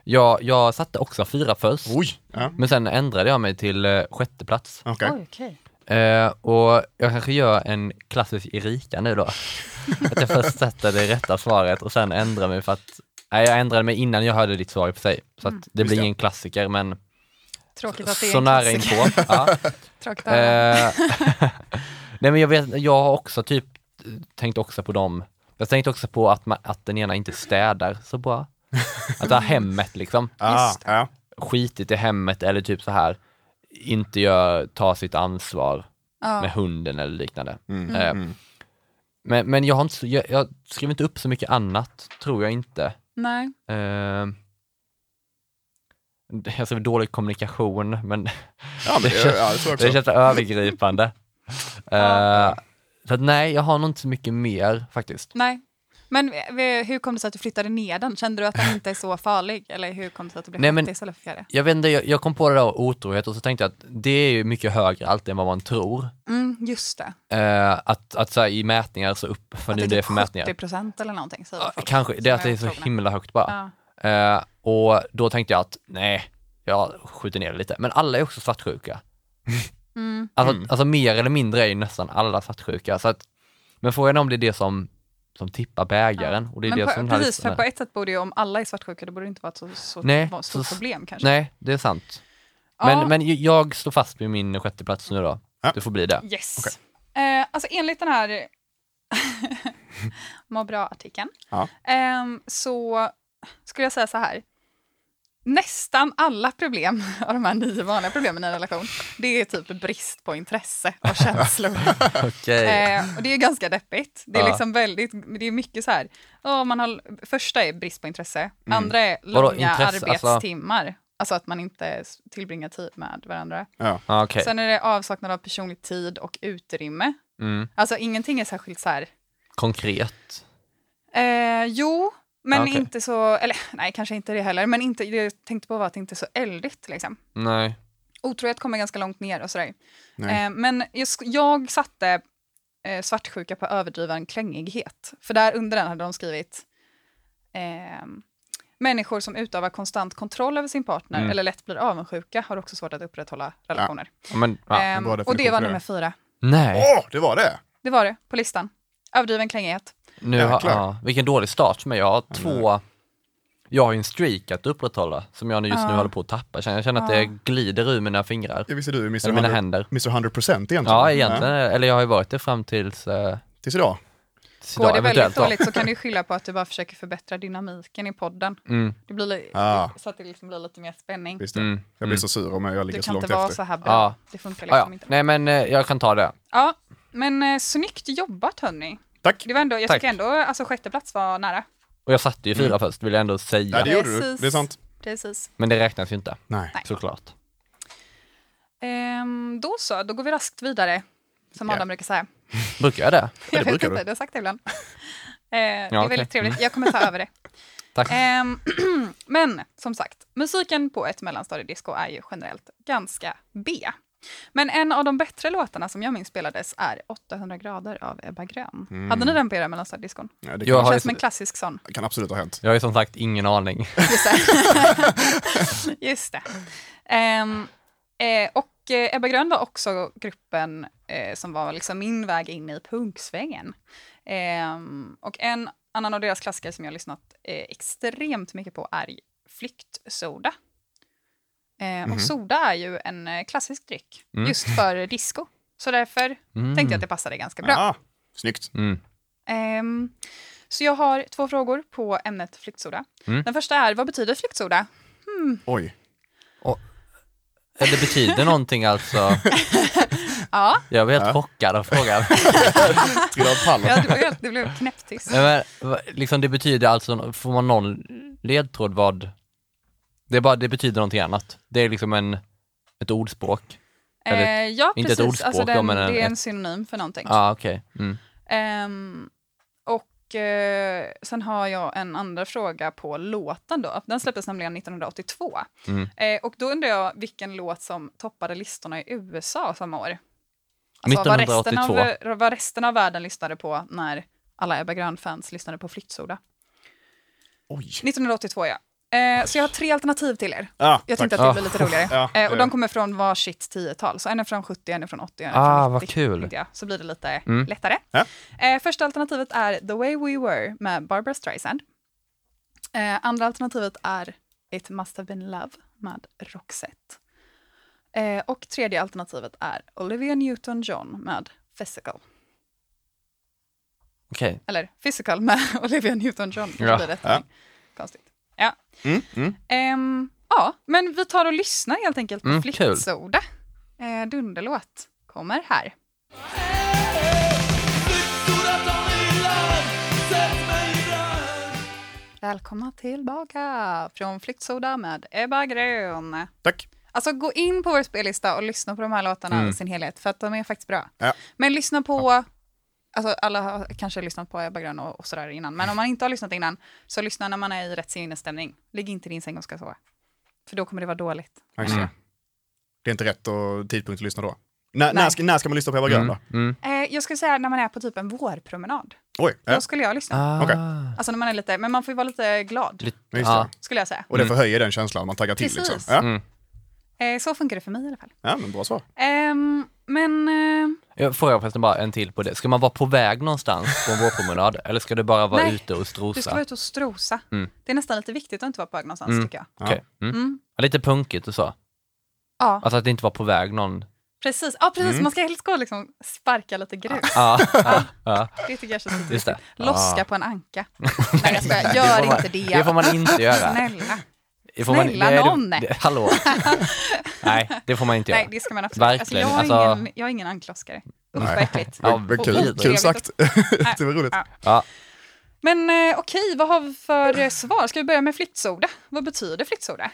Speaker 5: Jag, jag satte också fyra först,
Speaker 4: Oj! Ja.
Speaker 5: men sen ändrade jag mig till eh, sjätte plats.
Speaker 4: Okej.
Speaker 3: Oj, okej.
Speaker 5: Eh, och jag kanske gör en klassisk Erika nu då. att jag först sätter det rätta svaret och sen ändrar mig för att, nej jag ändrade mig innan jag hörde ditt svar i och för sig. Så att Mm. det blir
Speaker 4: det.
Speaker 5: ingen klassiker men
Speaker 3: Tråkigt att det är
Speaker 5: så
Speaker 3: en
Speaker 5: nära
Speaker 3: klassiker.
Speaker 5: inpå. Ja.
Speaker 3: Tråkigt att det
Speaker 5: Eh, Nej men jag vet, jag har också typ tänkt också på dem. Jag tänkte också på att, man, att den ena inte städar så bra. Att det här hemmet liksom,
Speaker 4: Ah, ja.
Speaker 5: skitigt i hemmet eller typ så här inte gör, tar sitt ansvar
Speaker 3: Ja.
Speaker 5: med hunden eller liknande.
Speaker 4: Mm,
Speaker 5: Eh,
Speaker 4: mm.
Speaker 5: Men, men jag har inte, så- jag, jag skriver inte upp så mycket annat, tror jag inte.
Speaker 3: Nej.
Speaker 5: Eh, jag skriver dålig kommunikation, men
Speaker 4: ja, men det, ja, det tror jag
Speaker 5: det
Speaker 4: också.
Speaker 5: känns övergripande. Eh, Så att, nej, jag har nog inte så mycket mer faktiskt.
Speaker 3: Nej. Men v- v- hur kom det sig att du flyttade ner den? Kände du att den inte är så farlig? Eller hur kom det sig att du blev
Speaker 5: Nej,
Speaker 3: Nej,
Speaker 5: men-
Speaker 3: men... istället för fjärde?
Speaker 5: Jag vet inte, jag, jag kom på det där otrohet och så tänkte jag att det är ju mycket högre alltid än vad man tror.
Speaker 3: Mm, just det.
Speaker 5: Eh, att att så här, i mätningar så upp, vad nu det är för mätningar.
Speaker 3: 70 typ procent eller någonting. säger
Speaker 5: Ja,
Speaker 3: folk
Speaker 5: Kanske, det är att
Speaker 3: som
Speaker 5: det är så
Speaker 3: upptagna.
Speaker 5: himla högt bara.
Speaker 3: Ja.
Speaker 5: Eh, och då tänkte jag att nej, jag skjuter ner det lite. Men alla är också svartsjuka.
Speaker 3: Mm.
Speaker 5: Alltså, alltså mer eller mindre är ju nästan alla svartsjuka. Så att, men frågan är om det är det som, som tippar bägaren. Och det är
Speaker 3: Men
Speaker 5: det
Speaker 3: på,
Speaker 5: som den här
Speaker 3: precis,
Speaker 5: listan
Speaker 3: för
Speaker 5: är.
Speaker 3: på ett sätt borde ju, om alla är svartsjuka, det borde inte vara ett så, så,
Speaker 5: Nej,
Speaker 3: vara ett stort
Speaker 5: så-
Speaker 3: problem kanske.
Speaker 5: Nej, det är sant.
Speaker 3: Ja.
Speaker 5: Men, men ju- jag står fast vid min sjätte plats nu då.
Speaker 4: Ja.
Speaker 5: Det får bli det.
Speaker 3: Yes. Eh, alltså enligt den här må bra-artikeln
Speaker 4: Ja.
Speaker 3: ehm, så skulle jag säga så här. Nästan alla problem av de här nio vanliga problemen i en relation, det är typ brist på intresse och känslor.
Speaker 5: Okej.
Speaker 3: Eh, och det är ganska deppigt. Det är
Speaker 5: Ja.
Speaker 3: liksom väldigt, det är mycket så här, åh, man har, första är brist på intresse, andra är
Speaker 5: Mm. Vadå,
Speaker 3: långa
Speaker 5: intresse? Alltså-
Speaker 3: arbetstimmar. Alltså... att man inte s- tillbringar tid med varandra.
Speaker 4: Ja.
Speaker 5: Ja, okej.
Speaker 3: Sen är det avsaknad av personlig tid och utrymme.
Speaker 5: Mm.
Speaker 3: Alltså ingenting är särskilt så här,
Speaker 5: Konkret.
Speaker 3: eh, jo, men
Speaker 5: Ja, Ah, okej.
Speaker 3: inte så, eller nej, kanske inte det heller, men inte, det jag tänkte på var att det inte är så eldigt liksom.
Speaker 5: Nej.
Speaker 3: Otrohet kommer ganska långt ner och sådär.
Speaker 4: Nej.
Speaker 3: Eh, men jag, sk- jag satte eh, svartsjuka på överdriven klängighet. För där under den hade de skrivit ehm, människor som utövar konstant kontroll över sin partner
Speaker 5: Mm.
Speaker 3: eller lätt blir avundsjuka har också svårt att upprätthålla relationer.
Speaker 5: Ja, Men, ja.
Speaker 3: Ehm,
Speaker 4: bra
Speaker 3: och det
Speaker 4: definition
Speaker 3: var
Speaker 4: på det.
Speaker 3: nummer fyra. Eh.
Speaker 5: Nej.
Speaker 4: Åh, det var det!
Speaker 3: Det var det på listan. Överdriven klängighet.
Speaker 5: Nu har,
Speaker 4: Jäklar.
Speaker 5: ja, vilken dålig start men jag har två jag har ju en streak att upprätthålla som jag nu just nu
Speaker 3: Ja.
Speaker 5: håller på att tappa. Känner- Jag känner att det glider ur mina fingrar.
Speaker 4: Ja, visst är du Mr.
Speaker 5: Eller mina
Speaker 4: 100
Speaker 5: händer.
Speaker 4: Mr. 100% egentligen.
Speaker 5: Ja, egentligen. Eller jag har ju varit det fram tills, eh,
Speaker 4: Tills idag.
Speaker 5: tills
Speaker 3: Går
Speaker 5: idag.
Speaker 3: det väldigt
Speaker 5: Eventuellt då.
Speaker 3: dåligt så kan du skylla på att du bara försöker förbättra dynamiken i podden.
Speaker 5: Mm.
Speaker 3: Det blir, li-
Speaker 4: Ah.
Speaker 3: Så att det liksom blir lite mer spänning.
Speaker 4: Visst det.
Speaker 5: Mm,
Speaker 4: Jag blir så sur om jag
Speaker 3: Du
Speaker 4: ligger så
Speaker 3: kan
Speaker 4: långt
Speaker 3: inte
Speaker 4: efter.
Speaker 3: vara så här bra.
Speaker 5: Ja.
Speaker 3: Det funkar
Speaker 5: Ah,
Speaker 3: liksom
Speaker 5: ja.
Speaker 3: inte.
Speaker 5: Nej men eh, jag kan ta det.
Speaker 3: Ja, men eh, snyggt jobbat hörni.
Speaker 4: Tack!
Speaker 3: Det var ändå, jag
Speaker 5: Tack.
Speaker 3: tycker ändå, alltså sjätte plats var nära.
Speaker 5: Och jag satte ju fyra
Speaker 3: Mm.
Speaker 5: först vill jag ändå säga.
Speaker 4: Ja, det gjorde du.
Speaker 3: Precis.
Speaker 4: Det är sant.
Speaker 3: Precis.
Speaker 5: Men det räknas ju inte
Speaker 4: Nej.
Speaker 3: Nej.
Speaker 5: såklart.
Speaker 3: Ehm, då så, då går vi raskt vidare. Som
Speaker 4: Ja.
Speaker 3: Adam brukar säga.
Speaker 5: Brukar jag det?
Speaker 4: det
Speaker 3: Jag vet
Speaker 4: brukar
Speaker 3: inte,
Speaker 4: du.
Speaker 3: du har sagt det ibland. Eh, det är
Speaker 5: okej.
Speaker 3: väldigt
Speaker 4: Mm.
Speaker 3: trevligt, jag kommer ta över det.
Speaker 5: Tack.
Speaker 3: Ehm, men som sagt, musiken på ett mellanstadiedisco är ju generellt ganska B. Men en av de bättre låtarna som jag minns spelades är 800 grader av Ebba Grön. Hade ni den på era mellanstadiediskon?
Speaker 4: Ja, det kan,
Speaker 5: Jag
Speaker 3: Det
Speaker 5: har, ju,
Speaker 3: känns som en klassisk sån.
Speaker 4: kan absolut ha hänt.
Speaker 5: jag har ju som sagt ingen aning.
Speaker 3: Just det. Just det. Ehm, eh, och eh, Ebba Grön var också gruppen eh, som var liksom min väg in i punksvängen. Ehm, och en annan av deras klassiker som jag har lyssnat eh, extremt mycket på är Flyktsoda. Eh, och soda är ju en eh, klassisk dryck
Speaker 5: Mhm. Mm.
Speaker 3: just för disco. Så därför
Speaker 5: Mm.
Speaker 3: tänkte jag att det passade ganska bra.
Speaker 4: Ja, Ah, snyggt.
Speaker 5: Mm.
Speaker 3: Ehm, så jag har två frågor på ämnet flyktsoda.
Speaker 5: Mm.
Speaker 3: Den första är, vad betyder flyktsoda?
Speaker 4: Oj.
Speaker 5: Eller betyder någonting alltså?
Speaker 3: Ja,
Speaker 5: Jag blev helt chockad av frågan.
Speaker 4: Trillade av pallen.
Speaker 3: Ja, det, var helt, det blev knäpptyst.
Speaker 5: Nej, men, va- liksom det betyder alltså, får man någon ledtråd vad, det, är bara, det betyder någonting annat. Det är liksom en, ett ordspråk. Eller ett-
Speaker 3: Eh, ja,
Speaker 5: inte ett
Speaker 3: precis.
Speaker 5: ordspråk
Speaker 3: alltså
Speaker 5: då,
Speaker 3: den,
Speaker 5: men en-
Speaker 3: det är en
Speaker 5: ett-
Speaker 3: synonym för någonting.
Speaker 5: Ja okej. Mm.
Speaker 3: Ehm, och eh, sen har jag en andra fråga på låten då. Den släpptes nämligen 1982.
Speaker 5: Mm.
Speaker 3: Eh, och då undrar jag vilken låt som toppade listorna i USA samma år. Alltså, Vad resten,
Speaker 5: 1982.
Speaker 3: av, eh, vad resten av världen lyssnade på när alla Ebba Grön-fans lyssnade på Flyktsoda.
Speaker 4: Oj.
Speaker 3: 1982 ja. Eh, så jag har tre alternativ till er.
Speaker 4: Ja,
Speaker 3: Jag
Speaker 4: tack.
Speaker 3: tänkte att det blir lite roligare.
Speaker 4: Ja,
Speaker 3: Eh, och
Speaker 4: det är
Speaker 3: de kommer från varsitt tiotal, så en är från 70, en är från 80, en är
Speaker 5: Ah,
Speaker 3: från
Speaker 5: vad
Speaker 3: 90.
Speaker 5: kul.
Speaker 3: tänkte Jag. Så blir det lite
Speaker 5: Mm.
Speaker 3: lättare.
Speaker 4: Ja.
Speaker 3: Eh, första alternativet är The Way We Were med Barbara Streisand. Eh, andra alternativet är It Must Have Been Love med Roxette. Eh, och tredje alternativet är Olivia Newton-John med Physical.
Speaker 5: Okej.
Speaker 3: Eller Physical med Olivia Newton-John.
Speaker 5: Ja.
Speaker 3: Ja. Blir rätt
Speaker 4: Ja.
Speaker 3: Konstigt. Ja.
Speaker 4: Mm, mm.
Speaker 3: Ehm, ja, men vi tar och lyssnar helt enkelt på
Speaker 5: Mm, kul.
Speaker 3: Flyktsoda. Eh, dunderlåt kommer här. Välkomna tillbaka från Flyktsoda med Ebba Grön.
Speaker 4: Tack.
Speaker 3: Alltså gå in på vår spellista och lyssna på de här låtarna i sin helhet för att de är faktiskt bra.
Speaker 4: Ja.
Speaker 3: Men lyssna på alltså alla har kanske lyssnat på Ebba Grön och, och sådär innan, men om man inte har lyssnat innan, så lyssna när man är i rätt sinnesstämning. Ligg inte i din säng och ska sova. För då kommer det vara dåligt.
Speaker 4: Ja, just det. Det är inte rätt och tidpunkt att lyssna då. När, när,
Speaker 3: Nej.
Speaker 4: ska, när ska man lyssna på Ebba Grön då?
Speaker 5: Mm.
Speaker 3: Eh, jag skulle säga när man är på typ en vårpromenad.
Speaker 4: Oj, ja,
Speaker 3: Då skulle jag lyssna.
Speaker 5: Ah.
Speaker 4: Okej.
Speaker 3: Alltså när man är lite, men man får ju vara lite glad,
Speaker 5: Lite-
Speaker 4: just det.
Speaker 5: Ja.
Speaker 3: skulle jag säga.
Speaker 4: Och det förhöjer den känslan, man taggar till
Speaker 3: Precis.
Speaker 4: liksom. Ja.
Speaker 5: Mm.
Speaker 3: Eh, så funkar det för mig i alla fall.
Speaker 4: ja, men bra svar.
Speaker 3: Ehm, men eh,
Speaker 5: Jag får jag förresten bara en till på det. Ska man vara på väg någonstans på en vårpromenad eller ska det bara vara
Speaker 3: Nej.
Speaker 5: ute och
Speaker 3: du ska vara
Speaker 5: strosa?
Speaker 3: ute och strosa.
Speaker 5: Mm.
Speaker 3: Det är nästan lite viktigt att inte vara på väg någonstans,
Speaker 5: Mm.
Speaker 3: tycker jag.
Speaker 4: Ja.
Speaker 5: Okej. Mm.
Speaker 3: Mm.
Speaker 5: Ja, Lite punkigt och så.
Speaker 3: Ja,
Speaker 5: Alltså att det inte var på väg någon.
Speaker 3: precis. Ja, precis.
Speaker 5: Mm.
Speaker 3: Man ska helst gå och liksom sparka lite grus.
Speaker 5: Ja, ja, ja.
Speaker 3: Det tycker jag känns
Speaker 5: Just
Speaker 3: lite
Speaker 5: det.
Speaker 3: viktigt. Loska
Speaker 5: Ah.
Speaker 3: på en anka. Nej, jag skojar. Gör
Speaker 5: får man-
Speaker 3: inte det.
Speaker 5: det får man inte göra.
Speaker 3: Snälla.
Speaker 5: Det får man-
Speaker 3: Snälla
Speaker 5: det är-
Speaker 3: någon!
Speaker 5: Det, hallå! Nej, det får man inte göra.
Speaker 3: Nej, det ska man absolut
Speaker 5: Verkligen.
Speaker 3: Alltså, jag, är
Speaker 5: Alltså-
Speaker 3: ingen, jag är ingen ankloskare. Usch, vad äckligt.
Speaker 5: Ja,
Speaker 4: Men
Speaker 5: och
Speaker 4: kul,
Speaker 5: otrevligt
Speaker 4: kul
Speaker 3: också.
Speaker 4: sagt. det var roligt.
Speaker 3: Ja.
Speaker 5: Ja.
Speaker 3: Men eh, okej, vad har vi för eh, svar? Ska vi börja med flyttsoda? Vad betyder flyttsoda?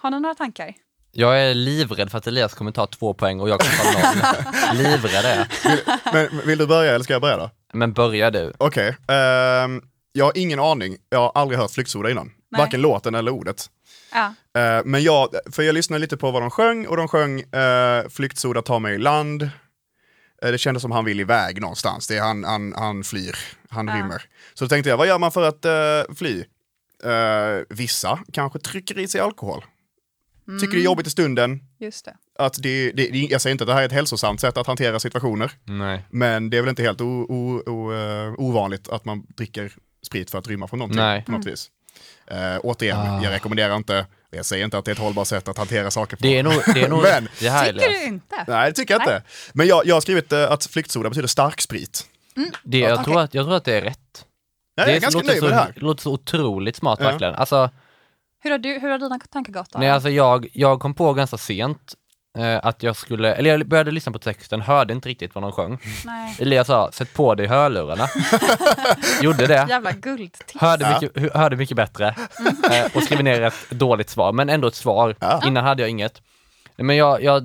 Speaker 3: Har ni några tankar?
Speaker 5: Jag är livrädd för att Elias kommer ta två poäng och jag kommer ta noll. livrädd är jag.
Speaker 4: Men vill du börja eller ska jag börja då?
Speaker 5: Men börja du.
Speaker 4: Okej, ehm, jag har ingen aning. Jag har aldrig hört Flyktsoda innan. Varken låten eller ordet.
Speaker 3: Ja,
Speaker 4: Eh, men jag, för jag lyssnade lite på vad de sjöng och de sjöng eh, Flyktsoda tar mig i land. Eh, det kändes som han vill iväg någonstans. Det är han, han, han flyr, han
Speaker 3: Ja.
Speaker 4: rymmer. Så då tänkte jag, vad gör man för att eh, fly? Eh, vissa kanske trycker i sig alkohol. Tycker det är jobbigt i stunden.
Speaker 3: just det.
Speaker 4: Att det, det, det, jag säger inte att det här är ett hälsosamt sätt att hantera situationer.
Speaker 5: Nej.
Speaker 4: Men det är väl inte helt o, o, o, eh, ovanligt att man dricker sprit för att rymma från någonting
Speaker 5: Nej.
Speaker 4: på något vis. Eh, återigen, jag rekommenderar inte, jag säger inte att det är ett hållbart sätt att hantera saker på.
Speaker 5: Det är nog, det är nog,
Speaker 4: Men-
Speaker 5: det här
Speaker 3: Tycker
Speaker 5: Elias.
Speaker 3: du inte?
Speaker 4: Nej, det tycker jag inte. Men jag, jag har skrivit eh, att flyktsoda betyder stark sprit.
Speaker 5: Det, jag,
Speaker 3: Okej.
Speaker 5: tror att, jag tror att det är rätt.
Speaker 4: Jag
Speaker 5: det
Speaker 4: är ganska
Speaker 5: låter
Speaker 4: nöjd
Speaker 5: så,
Speaker 4: med det här.
Speaker 5: låter så otroligt smart
Speaker 4: Ja.
Speaker 5: verkligen. Alltså,
Speaker 3: Hur har, du, hur har dina tankar gått? Aron?
Speaker 5: nej, alltså jag, jag kom på ganska sent eh, att jag skulle, eller jag började lyssna på texten, hörde inte riktigt vad de sjöng.
Speaker 3: Nej.
Speaker 5: Elias sa, sätt på dig hörlurarna. Gjorde det.
Speaker 3: Jävla guldtips.
Speaker 5: Hörde,
Speaker 4: Ja. Mm.
Speaker 5: mycket, hu- hörde mycket bättre eh, och skrev ner ett dåligt svar, men ändå ett svar. Innan hade jag inget. Nej, Men jag, jag,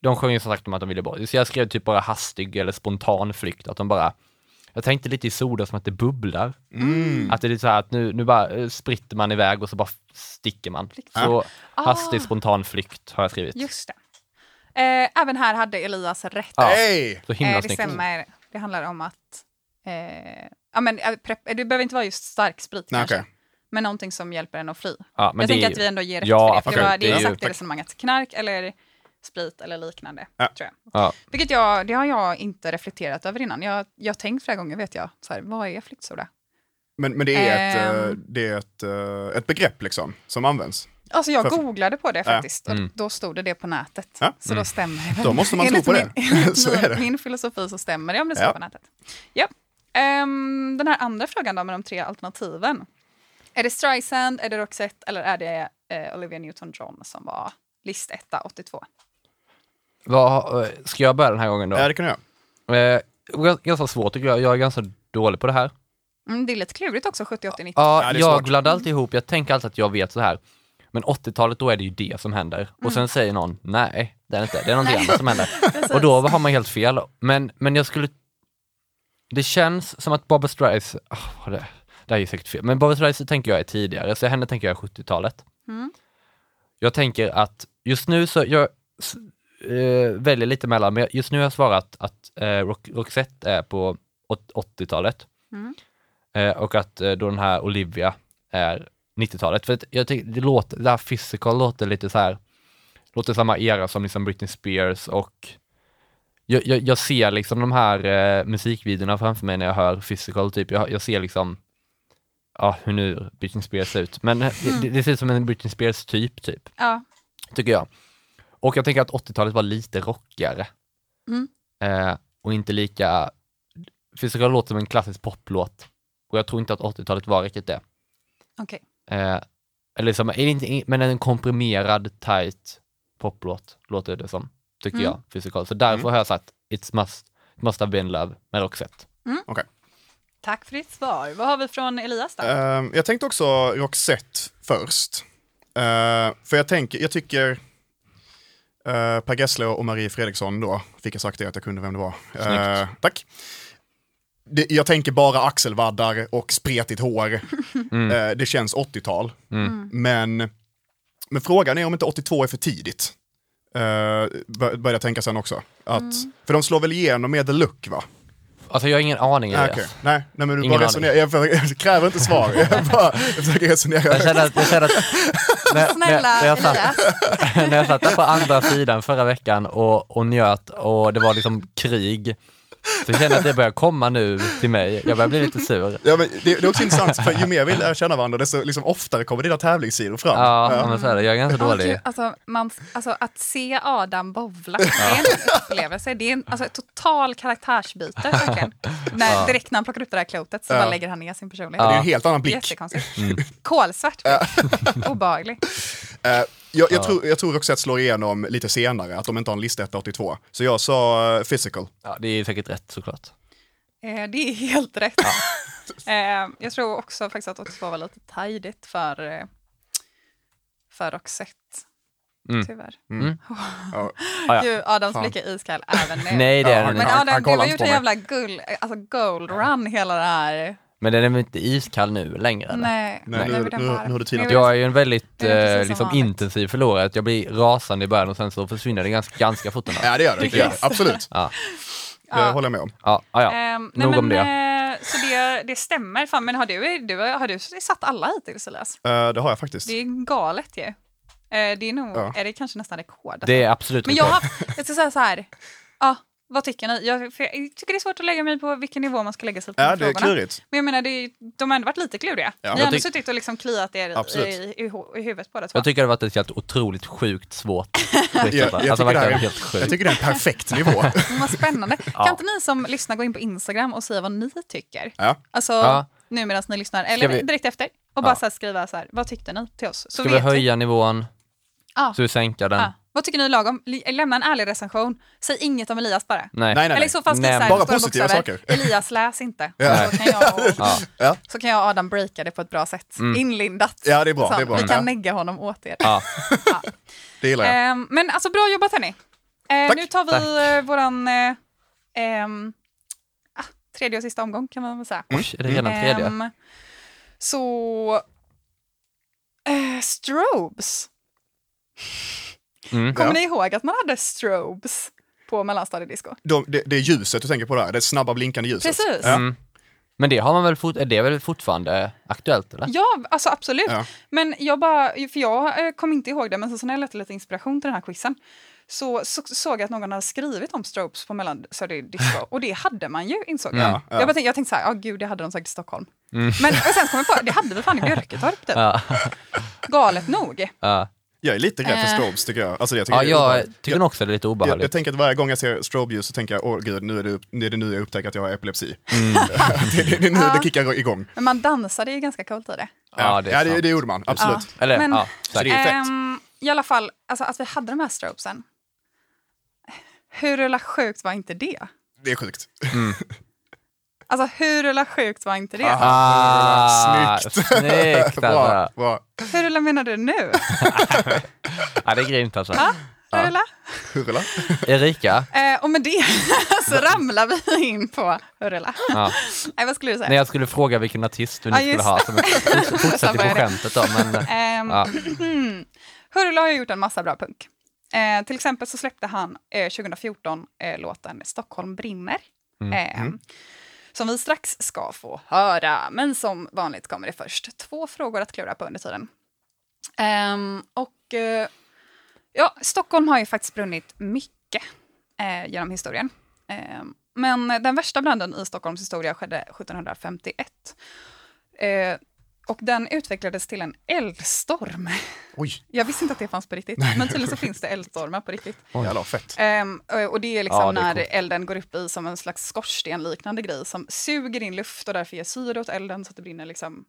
Speaker 5: de sjöng ju som sagt om att de ville bort, så jag skrev typ bara hastig eller spontan flykt, att de bara jag tänkte lite i soda som att det bubblar.
Speaker 4: Mm.
Speaker 5: Att det är lite så här att nu, nu bara eh, spritter man iväg och så bara f- sticker man. Så
Speaker 4: Ah.
Speaker 5: hastig spontan flykt har jag skrivit.
Speaker 3: Just det. Eh, även här hade Elias rätt.
Speaker 5: Ja.
Speaker 4: Hej!
Speaker 5: Så himla
Speaker 3: Eh, det
Speaker 5: snyggt.
Speaker 3: stämmer. Det handlar om att... Eh, ja, men, eh, prep, det behöver inte vara just stark sprit
Speaker 4: Nej,
Speaker 3: kanske.
Speaker 4: okej.
Speaker 3: Men någonting som hjälper en att fly.
Speaker 5: Ja, men
Speaker 3: jag
Speaker 5: det
Speaker 3: tänker
Speaker 5: är ju-
Speaker 3: att vi ändå ger rätt
Speaker 5: Ja,
Speaker 3: för det. För
Speaker 5: absolut.
Speaker 3: det var, det
Speaker 5: Det
Speaker 3: är
Speaker 5: är ju-
Speaker 3: exakt det resonemanget. Knark eller sprit eller liknande.
Speaker 4: Ja.
Speaker 3: Tror jag.
Speaker 5: Ja.
Speaker 3: Vilket jag, det har jag inte reflekterat över innan. Jag jag har tänkt flera gånger, vet jag, så här, vad är flyktsoda?
Speaker 4: Men, men det är, ett, eh,
Speaker 3: Ehm.
Speaker 4: det är ett, eh, ett begrepp liksom, som används.
Speaker 3: Alltså jag
Speaker 4: Fast-
Speaker 3: googlade på det
Speaker 4: Ja.
Speaker 3: faktiskt och då stod det det på nätet.
Speaker 4: Ja.
Speaker 3: Så då stämmer det. väl.
Speaker 4: Då måste man tro
Speaker 3: Enligt
Speaker 4: på det.
Speaker 3: Min, enligt
Speaker 4: Så är det.
Speaker 3: min, min filosofi så stämmer det om det står
Speaker 4: Ja.
Speaker 3: på nätet. Ja. Ehm, den här andra frågan då med de tre alternativen. Är det Streisand, är det Roxette eller är det eh, Olivia Newton-John som var listetta 82?
Speaker 5: Vad, eh, ska jag börja den här gången då?
Speaker 4: Ja, det kan jag göra.
Speaker 5: Eh, gans- ganska svårt tycker jag, jag är ganska dålig på det här.
Speaker 3: Mm, det är lite klurigt också, 70, 80, 90.
Speaker 5: Ja,
Speaker 4: Ja, det är
Speaker 5: jag
Speaker 4: svårt.
Speaker 5: blandar alltid ihop, jag tänker alltid att jag vet så här. Men 80-talet, då är det ju det som händer. Och sen säger någon, nej, det är det inte, det är någonting annat som händer. Och då har man helt fel. Men, men jag skulle... Det känns som att Barbra Streisand, oh, det, det här är ju säkert fel, men Barbra Streisand tänker jag är tidigare, så henne tänker jag är 70-talet.
Speaker 3: Mm.
Speaker 5: Jag tänker att just nu så, jag s- eh, väljer lite mellan, men just nu har jag svarat att eh, Rock, Roxette är på åt- 80-talet.
Speaker 3: Mm.
Speaker 5: Eh, och att eh, då den här Olivia är 90-talet. För att jag tycker det låter, det här physical låter lite så här, låter samma era som liksom Britney Spears och jag, jag, jag ser liksom de här eh, musikvideorna framför mig när jag hör physical, typ. jag, jag ser liksom Ja, hur nu Britney Spears ser ut. Men eh, det, det ser ut som en Britney Spears-typ, typ
Speaker 3: Ja.
Speaker 5: tycker jag. Och jag tänker att 80-talet var lite rockigare.
Speaker 3: Mm.
Speaker 5: Eh, och inte lika, Physical låter som en klassisk poplåt. Och jag tror inte att 80-talet var riktigt det.
Speaker 3: Okej.
Speaker 5: Eh, eller liksom, är det inte, men en komprimerad, tight poplåt låter det som, tycker
Speaker 3: Mm.
Speaker 5: jag, Physical. Så därför har jag satt It's must, It must have been love med Roxette.
Speaker 3: Tack för ditt svar. Vad har vi från Elias då?
Speaker 4: Ehm, jag tänkte också Roxette först. Eh, för jag tänker, jag tycker eh, Per Gessle och Marie Fredriksson då, fick jag sagt det att jag kunde vem det var. Eh,
Speaker 5: Snyggt.
Speaker 4: tack. det, jag tänker bara axelvaddar och spretigt hår. Eh, det känns 80-tal. Men, men frågan är om inte 82 är för tidigt. Eh, bör- började jag tänka sen också. Att, För de slår väl igenom med The Look va?
Speaker 5: Alltså jag har ingen aning
Speaker 4: Nej,
Speaker 5: Elias.
Speaker 4: okej. Nej, nej men du
Speaker 5: Ingen
Speaker 4: bara
Speaker 5: aning.
Speaker 4: resonerar. Jag, för- jag kräver inte svar. Jag, bara, jag försöker resonera.
Speaker 5: Jag känner att, jag känner att när,
Speaker 3: Snälla
Speaker 5: när, när, jag satt,
Speaker 3: Elias.
Speaker 5: när jag satt där på andra sidan förra veckan och, och njöt och det var liksom krig, så känner jag att det börjar komma nu till mig. Jag börjar bli lite sur.
Speaker 4: Ja, men det, det är också intressant, för ju mer vi lär känna varandra, desto liksom oftare kommer dina tävlingssidor fram.
Speaker 5: Ja, men så är det. Jag är ganska
Speaker 3: Ja, men
Speaker 5: dålig.
Speaker 3: gud, Alltså, man, alltså att se Adam bovla, det är en upplevelse. Det är en, alltså, ett total karaktärsbyte verkligen. När, direkt när han plockar upp det där klotet så
Speaker 4: Ja.
Speaker 3: bara lägger han ner sin personlighet.
Speaker 4: Det är ju
Speaker 5: Ja. Mm.
Speaker 4: en helt annan blick.
Speaker 3: Jättekonstigt. Kolsvart. Obehaglig.
Speaker 4: Eh, jag, jag, tror, jag tror också att slår igenom lite senare, att de inte har en lista 182. Så jag sa eh, physical.
Speaker 5: Ja, det är säkert rätt såklart.
Speaker 3: Eh, det är helt rätt. eh, jag tror också faktiskt att 82 var lite tajdigt för, eh, för Roxette.
Speaker 5: Mm.
Speaker 3: Tyvärr.
Speaker 4: Ja.
Speaker 5: Ah, ja.
Speaker 3: Gud, Adams
Speaker 4: Fan.
Speaker 3: blick är iskall även nu.
Speaker 5: Nej det
Speaker 4: Ja,
Speaker 5: är
Speaker 3: Eh, Men
Speaker 4: han-
Speaker 5: den inte.
Speaker 4: han-
Speaker 3: Adam, du
Speaker 4: kollar
Speaker 3: har
Speaker 4: inte
Speaker 3: gjort
Speaker 4: på
Speaker 3: en
Speaker 4: mig.
Speaker 3: jävla guld, alltså gold run hela det här.
Speaker 5: Men den är väl inte iskall nu längre? Eller?
Speaker 3: Nej,
Speaker 4: Nej,
Speaker 3: nu,
Speaker 4: nu-
Speaker 3: är den
Speaker 4: nu-
Speaker 3: varm.
Speaker 4: nu har du tinat
Speaker 3: är
Speaker 5: Jag är ju en väldigt
Speaker 3: Det är precis
Speaker 5: eh,
Speaker 3: som
Speaker 5: liksom
Speaker 3: vanligt.
Speaker 5: intensiv förlorare, jag blir rasande i början och sen så försvinner det ganska, ganska fort. ändå.
Speaker 4: Ja, det gör det. det gör det. Absolut.
Speaker 5: Ja.
Speaker 4: Det
Speaker 3: Ja.
Speaker 4: håller jag med om.
Speaker 5: Ja, ja, ja.
Speaker 3: Ehm,
Speaker 5: Nog
Speaker 3: nej,
Speaker 5: om
Speaker 3: men, eh, Så det, det stämmer. Fan, men har du, du, har du satt alla hittills Elias?
Speaker 4: Eh, det har jag faktiskt.
Speaker 3: Det är galet ju. Eh, Det är nog,
Speaker 4: Ja.
Speaker 3: är det kanske nästan rekord.
Speaker 5: Det är absolut
Speaker 3: Men jag,
Speaker 5: rekord.
Speaker 3: har, jag ska säga så här. Ja, vad tycker ni? Jag, för jag tycker det är svårt att lägga mig på vilken nivå man ska lägga sig på de
Speaker 4: Ja,
Speaker 3: här
Speaker 4: det är
Speaker 3: frågorna.
Speaker 4: klurigt.
Speaker 3: Men jag menar, det är, de har ändå varit lite kluriga.
Speaker 4: Ja.
Speaker 3: ni har
Speaker 4: Jag
Speaker 3: ändå
Speaker 5: tyck-
Speaker 3: suttit och liksom kliat er i,
Speaker 4: Absolut.
Speaker 3: i, i, hu- i huvudet båda två.
Speaker 5: Jag tycker det har varit ett helt otroligt sjukt svårt
Speaker 4: Jag, jag,
Speaker 5: Alltså
Speaker 4: tycker det här
Speaker 5: verkligen
Speaker 4: är,
Speaker 5: helt sjukt.
Speaker 4: jag tycker det är en perfekt nivå.
Speaker 3: Men Mm, Vad spännande. Kan
Speaker 5: Ja.
Speaker 3: inte ni som lyssnar gå in på Instagram och säga vad ni tycker?
Speaker 4: Ja.
Speaker 3: Alltså
Speaker 5: Ja.
Speaker 3: nu medan ni lyssnar, eller
Speaker 5: vi-
Speaker 3: direkt efter. Och bara
Speaker 5: Ja.
Speaker 3: så här skriva så här, vad tyckte ni till oss? Så
Speaker 5: Ska vi höja nivån?
Speaker 3: Ja.
Speaker 5: Ska vi sänka den?
Speaker 3: Ja. Vad tycker ni lagom? L- Lämna en ärlig recension. Säg inget om Elias bara.
Speaker 5: Nej.
Speaker 4: Nej,
Speaker 3: Eller i
Speaker 4: nej,
Speaker 3: så fall skriv så
Speaker 5: Nämn.
Speaker 3: här,
Speaker 4: Bara
Speaker 3: stora
Speaker 4: positiva
Speaker 3: bokstäver.
Speaker 4: saker.
Speaker 3: Elias läs inte.
Speaker 4: Ja.
Speaker 3: Så, kan jag och,
Speaker 5: Ja.
Speaker 3: så kan jag och Adam breaka det på ett bra sätt. Inlindat.
Speaker 4: Mm. Ja, det är bra,
Speaker 3: Så
Speaker 4: det är bra.
Speaker 3: Vi
Speaker 4: Ja.
Speaker 3: kan negga honom åt er.
Speaker 5: Ja.
Speaker 4: det gillar jag.
Speaker 3: Ehm, men alltså bra jobbat hörni. Eh,
Speaker 4: Tack.
Speaker 3: nu tar vi
Speaker 5: Tack.
Speaker 3: eh, våran eh, ehm, ah, tredje och sista omgång kan man väl säga.
Speaker 4: Mm.
Speaker 5: Oj, är det redan Mm, tredje?
Speaker 3: Ehm, så eh, strobes.
Speaker 5: Mm.
Speaker 3: Kommer
Speaker 4: Ja.
Speaker 3: ni ihåg att man hade strobes på mellanstadiedisco?
Speaker 4: De, det, det är ljuset du tänker på där, det snabba blinkande ljuset.
Speaker 3: Precis.
Speaker 4: Ja.
Speaker 5: Mm. Men det har man väl, fort, är det väl fortfarande aktuellt eller?
Speaker 3: Ja, alltså absolut.
Speaker 4: Ja.
Speaker 3: Men jag bara, för jag eh, kom inte ihåg det, men sen så när jag letade lite inspiration till den här quizen så, så såg jag att någon hade skrivit om strobes på mellanstadiedisco och det hade man ju insåg jag.
Speaker 4: Ja, Mm. ja.
Speaker 3: Jag, bara tänkte, jag tänkte så här, ja gud det hade de säkert i Stockholm. Men och sen kom jag på, det hade vi fan i Björketorp typ.
Speaker 5: Ja.
Speaker 3: Galet nog.
Speaker 5: Ja,
Speaker 4: Jag är lite rädd för
Speaker 3: Eh.
Speaker 4: strobes tycker jag. Alltså, jag tycker
Speaker 5: ja
Speaker 4: det är
Speaker 5: jag
Speaker 4: obehagligt.
Speaker 5: tycker nog också det är lite
Speaker 4: jag, jag,
Speaker 5: obehagligt.
Speaker 4: tänker att varje gång jag ser strobeljus så tänker jag, åh gud, nu är, det, upp- nu är det nu jag upptäcker att jag har epilepsi.
Speaker 5: Mm.
Speaker 4: det, det, det är nu det kickar igång.
Speaker 3: Men man dansade ju ganska coolt i det.
Speaker 5: Ja, det är
Speaker 4: det,
Speaker 5: sant.
Speaker 4: gjorde man, absolut.
Speaker 3: Ja.
Speaker 5: Eller,
Speaker 3: Men-
Speaker 5: ja,
Speaker 4: Så det
Speaker 5: säkert.
Speaker 4: är fett.
Speaker 3: Ehm, I alla fall, alltså att vi hade de här strobesen. Hur jävla sjukt var inte det?
Speaker 4: Det är sjukt.
Speaker 3: Alltså hur jävla sjukt var inte det?
Speaker 5: Ah,
Speaker 4: Snyggt.
Speaker 5: snyggt
Speaker 4: Bra,
Speaker 5: alltså.
Speaker 4: bra.
Speaker 3: Hur jävla menar du nu?
Speaker 5: Ja, det är grymt alltså.
Speaker 3: Ja, hur jävla?
Speaker 4: Hurra.
Speaker 5: Erika,
Speaker 3: Eh, och med det så ramlar vi in på Hurrela.
Speaker 5: ja.
Speaker 3: Nej, vad skulle du säga?
Speaker 5: när jag skulle fråga vilken artist du nu
Speaker 3: Ja,
Speaker 5: skulle
Speaker 3: just
Speaker 5: ha, som fortsatte på
Speaker 3: börjar det.
Speaker 5: skämtet då, men
Speaker 3: Ehm,
Speaker 5: ja.
Speaker 3: Hurrela har ju gjort en massa bra punk. Eh, till exempel så släppte han eh, 2014 eh, låten Stockholm brinner. Ehm, Som vi strax ska få höra, men som vanligt kommer det först två frågor att klura på under tiden. Ehm, och eh, ja, Stockholm har ju faktiskt brunnit mycket eh, genom historien. Ehm, men den värsta branden i Stockholms historia skedde 1751. Eh, och den utvecklades till en eldstorm.
Speaker 4: Oj,
Speaker 3: Jag visste inte att det fanns på riktigt, men tydligen så finns det eldstormar på riktigt.
Speaker 4: jävlar fett.
Speaker 3: Ehm, ö- och det är liksom
Speaker 5: Ja, det är
Speaker 3: när
Speaker 5: coolt.
Speaker 3: elden går upp i som en slags skorstenliknande grej som suger in luft och därför ger syre åt elden så att det brinner liksom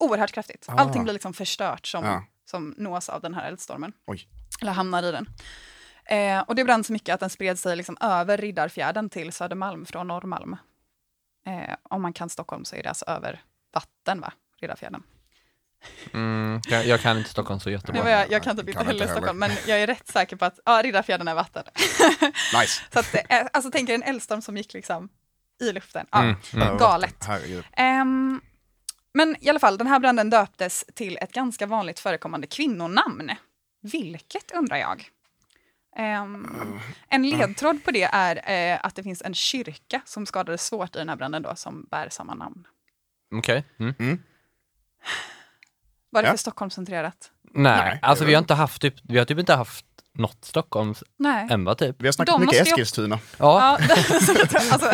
Speaker 3: oerhört
Speaker 5: Ah.
Speaker 3: kraftigt. Allting blir liksom förstört som,
Speaker 4: Ja.
Speaker 3: som nås av den här eldstormen.
Speaker 4: Oj.
Speaker 3: Eller hamnar i den. Eh, och det brann så mycket att den spred sig liksom över Riddarfjärden till Södermalm från Norrmalm. Eh, om man kan Stockholm så är det alltså över vatten, va? Riddarfjärden.
Speaker 5: mm, jag, jag kan inte Stockholm så
Speaker 3: Nu
Speaker 5: Göteborg.
Speaker 3: var jag, jag kan typ inte
Speaker 4: Kan
Speaker 3: heller
Speaker 4: inte
Speaker 3: Stockholm, men jag är rätt säker på att eh, ja, Riddarfjärden är vatten.
Speaker 4: Nice.
Speaker 3: Så att, det är- alltså tänk er en eldstorm som gick liksom i luften. Ja,
Speaker 5: Mm, mm.
Speaker 3: Galet.
Speaker 4: Herregud.
Speaker 3: Ehm, men i alla fall, den här branden döptes till ett ganska vanligt förekommande kvinnonamn. Vilket undrar jag? Ehm, en ledtråd på det är eh, att det finns en kyrka som skadades svårt i den här branden då, som bär samma namn.
Speaker 5: Okej. Mm.
Speaker 3: Var det
Speaker 4: Ja.
Speaker 3: för Stockholmscentrerat?
Speaker 5: Nej,
Speaker 4: Nej.
Speaker 5: alltså vi har inte haft typ, vi har typ inte haft något Stockholms
Speaker 3: Nej.
Speaker 5: än va typ?
Speaker 4: Vi har snackat
Speaker 3: De
Speaker 4: mycket
Speaker 3: måste ju-
Speaker 4: Eskilstuna.
Speaker 5: Ja,
Speaker 3: Ja, alltså,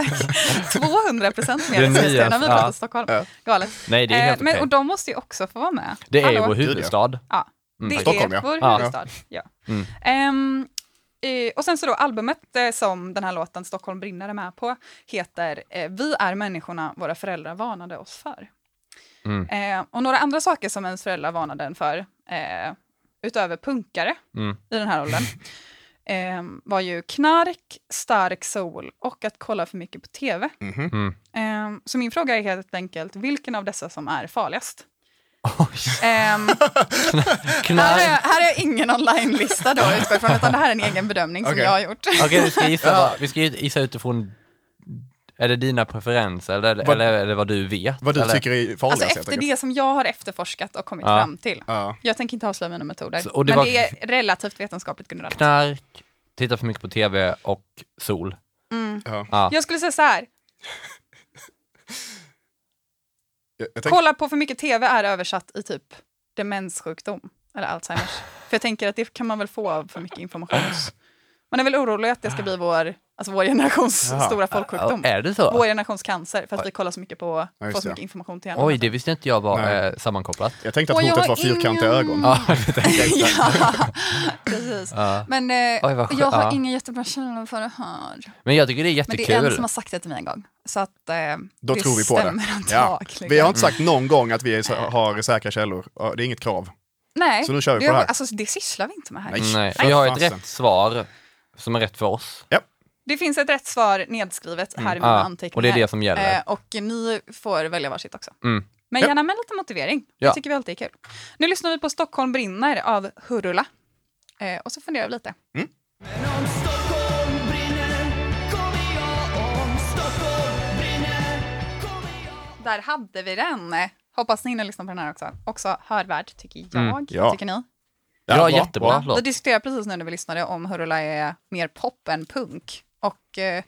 Speaker 3: 200 procent mer
Speaker 5: Det
Speaker 3: än
Speaker 5: nya,
Speaker 3: Eskilstuna när vi
Speaker 5: ja.
Speaker 3: pratar Stockholm.
Speaker 4: Ja.
Speaker 3: Galet.
Speaker 5: nej det är helt
Speaker 3: Eh, men,
Speaker 5: okej.
Speaker 3: och de måste ju också få vara med.
Speaker 5: Det är ju
Speaker 3: Hallå?
Speaker 5: vår
Speaker 4: Gud, ja.
Speaker 5: huvudstad.
Speaker 3: Ja,
Speaker 5: Mm,
Speaker 3: det
Speaker 4: Stockholm,
Speaker 3: är
Speaker 4: ja.
Speaker 3: vår
Speaker 5: Ja.
Speaker 3: huvudstad. Ja.
Speaker 5: Mm.
Speaker 3: Ehm, eh, och sen så då albumet eh, som den här låten Stockholm brinner är med på heter eh, Vi är människorna våra föräldrar varnade oss för.
Speaker 5: Mm.
Speaker 3: Eh, och några andra saker som ens föräldrar varnade en för, eh, utöver punkare
Speaker 5: Mm.
Speaker 3: i den här åldern, eh, var ju knark, stark sol och att kolla för mycket på tv.
Speaker 4: Mhm.
Speaker 5: Mm.
Speaker 3: Ehm, så min fråga är helt enkelt vilken av dessa som är farligast?
Speaker 5: Oj,
Speaker 3: Ehm, Här har, jag,
Speaker 5: knark.
Speaker 3: här har jag ingen online-lista då utgått från, utan det här är en egen bedömning som
Speaker 4: Okej.
Speaker 3: jag har gjort.
Speaker 5: Okej, vi ska gissa, bara- vi ska gissa utifrån, är det dina preferenser eller,
Speaker 4: Vad-
Speaker 5: eller, eller vad du vet?
Speaker 4: Vad du
Speaker 5: eller?
Speaker 4: tycker är
Speaker 3: Alltså
Speaker 4: farligast
Speaker 3: efter det som jag har efterforskat och kommit
Speaker 5: Ja.
Speaker 3: fram till.
Speaker 4: Ja.
Speaker 3: Jag tänker inte avslöja mina metoder,
Speaker 5: Så- och det
Speaker 3: men
Speaker 5: var-
Speaker 3: det är relativt vetenskapligt grundat.
Speaker 5: Knark, titta för mycket på tv och sol.
Speaker 4: Ja.
Speaker 5: Ja.
Speaker 3: Jag skulle säga så här,
Speaker 4: Jag, jag tänker,
Speaker 3: kolla på för mycket tv är översatt i typ demenssjukdom eller Alzheimers. För jag tänker att det kan man väl få av för mycket information. Man är väl orolig att det ska bli vår, alltså vår generations
Speaker 4: Jaha.
Speaker 3: stora
Speaker 5: Ja,
Speaker 3: folksjukdom.
Speaker 5: Är det så?
Speaker 3: Vår generations cancer, för att vi kollar så mycket på,
Speaker 4: Ja, just
Speaker 3: får så
Speaker 4: det.
Speaker 3: mycket information till hjärnan.
Speaker 5: Oj, det visste inte jag var
Speaker 4: Nej.
Speaker 5: eh, sammankopplat.
Speaker 4: jag tänkte
Speaker 3: Och
Speaker 4: att
Speaker 3: jag
Speaker 4: hotet
Speaker 3: har
Speaker 4: var fyrkantiga
Speaker 3: ingen-
Speaker 4: ögon.
Speaker 5: Ja, det tänkte jag exakt.
Speaker 3: ja, precis.
Speaker 5: Ja.
Speaker 3: Men eh,
Speaker 5: Oj, vad skö-
Speaker 3: jag har
Speaker 5: ja.
Speaker 3: ingen jättebra kännedom för det här.
Speaker 5: Men jag tycker det är
Speaker 3: Men
Speaker 5: jättekul.
Speaker 3: det är en som har sagt det till mig en gång. Så att eh,
Speaker 4: Då
Speaker 3: det
Speaker 4: tror vi på det.
Speaker 3: stämmer
Speaker 4: Ja.
Speaker 3: antagligen.
Speaker 4: Vi har inte sagt någon gång att vi är, har säkra källor. Ja, Det är inget krav.
Speaker 3: Nej,
Speaker 4: Så nu kör vi
Speaker 3: det,
Speaker 4: på det här.
Speaker 3: Alltså, det sysslar vi inte med här.
Speaker 4: Nej.
Speaker 5: Nej,
Speaker 4: Nej,
Speaker 5: vi har ett
Speaker 4: fasen.
Speaker 5: rätt svar som är rätt för oss.
Speaker 3: Det finns ett rätt svar nedskrivet här i mina
Speaker 5: Ja,
Speaker 3: anteckningar.
Speaker 5: Mm. Ah, och det är det som gäller.
Speaker 3: Eh, och ni får välja varsitt också.
Speaker 5: Mm.
Speaker 3: Men
Speaker 4: Ja.
Speaker 3: gärna med lite motivering.
Speaker 5: Ja.
Speaker 3: Det tycker vi alltid är kul. Nu lyssnar vi på Stockholm brinner av Hurula. Eh, och så funderar vi lite.
Speaker 5: Mm.
Speaker 3: Där hade vi den. Hoppas ni hinner lyssna på den här också. Också hörvärd, tycker jag.
Speaker 5: Mm,
Speaker 4: ja.
Speaker 3: Vad tycker ni?
Speaker 5: Ja,
Speaker 4: bra,
Speaker 5: jättebra
Speaker 4: bra.
Speaker 5: låt.
Speaker 3: Vi diskuterade precis nu när vi lyssnade om Hurula är mer pop än punk. Och eh,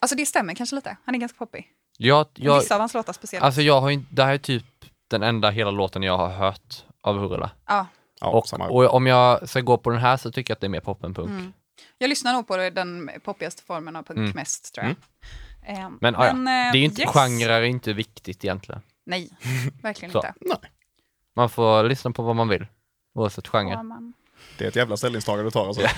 Speaker 3: alltså det stämmer kanske lite. Han är ganska poppig.
Speaker 5: Jag, jag,
Speaker 3: Vissa av hans låtar speciellt.
Speaker 5: alltså jag har inte, det här är typ den enda hela låten jag har hört av Hurula.
Speaker 3: ja.
Speaker 4: Ja,
Speaker 5: och,
Speaker 4: samma.
Speaker 5: och om jag ska gå på den här så tycker jag att det är mer pop än punk.
Speaker 3: Mm. Jag lyssnar nog på den poppigaste formen av punk
Speaker 5: Mm.
Speaker 3: mest tror jag. Eh,
Speaker 5: Men, ah, ja.
Speaker 3: eh,
Speaker 5: det är ju inte,
Speaker 3: yes.
Speaker 5: genrer är inte viktigt egentligen.
Speaker 3: Nej, verkligen
Speaker 5: Så.
Speaker 3: inte.
Speaker 4: Nej,
Speaker 5: Man får lyssna på vad man vill, oavsett
Speaker 3: Ja,
Speaker 5: genre.
Speaker 3: man,
Speaker 4: det är ett jävla ställningstagande du tar alltså.
Speaker 3: det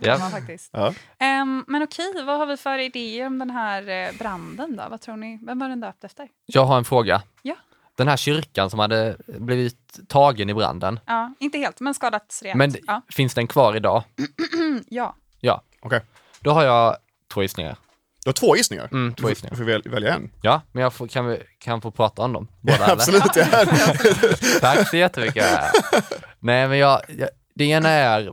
Speaker 5: Ja.
Speaker 3: får man faktiskt.
Speaker 4: Ja.
Speaker 3: Ehm, men okej, vad har vi för idéer om den här eh, branden då? Vad tror ni? Vem var den döpt efter?
Speaker 5: Jag har en fråga.
Speaker 3: Ja.
Speaker 5: Den här kyrkan som hade blivit tagen i branden,
Speaker 3: Ja, inte helt, men skadats rejält.
Speaker 5: men
Speaker 3: ja,
Speaker 5: finns den kvar idag?
Speaker 3: ja.
Speaker 5: Ja.
Speaker 4: Okej.
Speaker 5: Då har jag två gissningar.
Speaker 4: Du har två gissningar.
Speaker 5: Mm, två
Speaker 4: Du
Speaker 5: gissningar.
Speaker 4: får- får väl, välja en.
Speaker 5: Ja, men jag får, kan, vi, kan få prata om dem båda eller?
Speaker 4: Absolut, ja.
Speaker 5: Tack så jättemycket. Nej, men jag, jag, det ena är,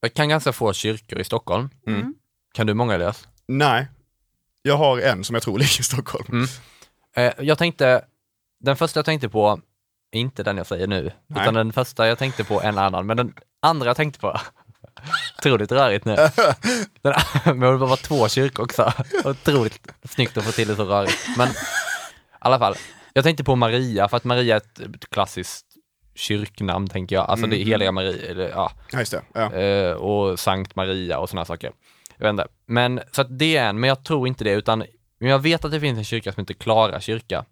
Speaker 5: jag kan ganska få kyrkor i Stockholm.
Speaker 4: Mm.
Speaker 5: Kan du många Elias?
Speaker 4: Nej, jag har en som jag tror ligger i Stockholm.
Speaker 5: Eh, jag tänkte, den första jag tänkte på, är inte den jag säger nu,
Speaker 4: Nej.
Speaker 5: utan den första jag tänkte på en annan, men den andra jag tänkte på, otroligt rörigt nu. Den, men det var bara två kyrkor också, otroligt snyggt att få till det så rörigt. Men i alla fall, jag tänkte på Maria, för att Maria är ett ett klassiskt kyrknamn tänker jag, alltså det är heliga Maria, eller, ja,
Speaker 4: Ja, just det. Ja.
Speaker 5: eh, och Sankt Maria och sådana saker. Jag vet inte. Men, så att det är en, men jag tror inte det, utan men jag vet att det finns en kyrka som heter Klara kyrka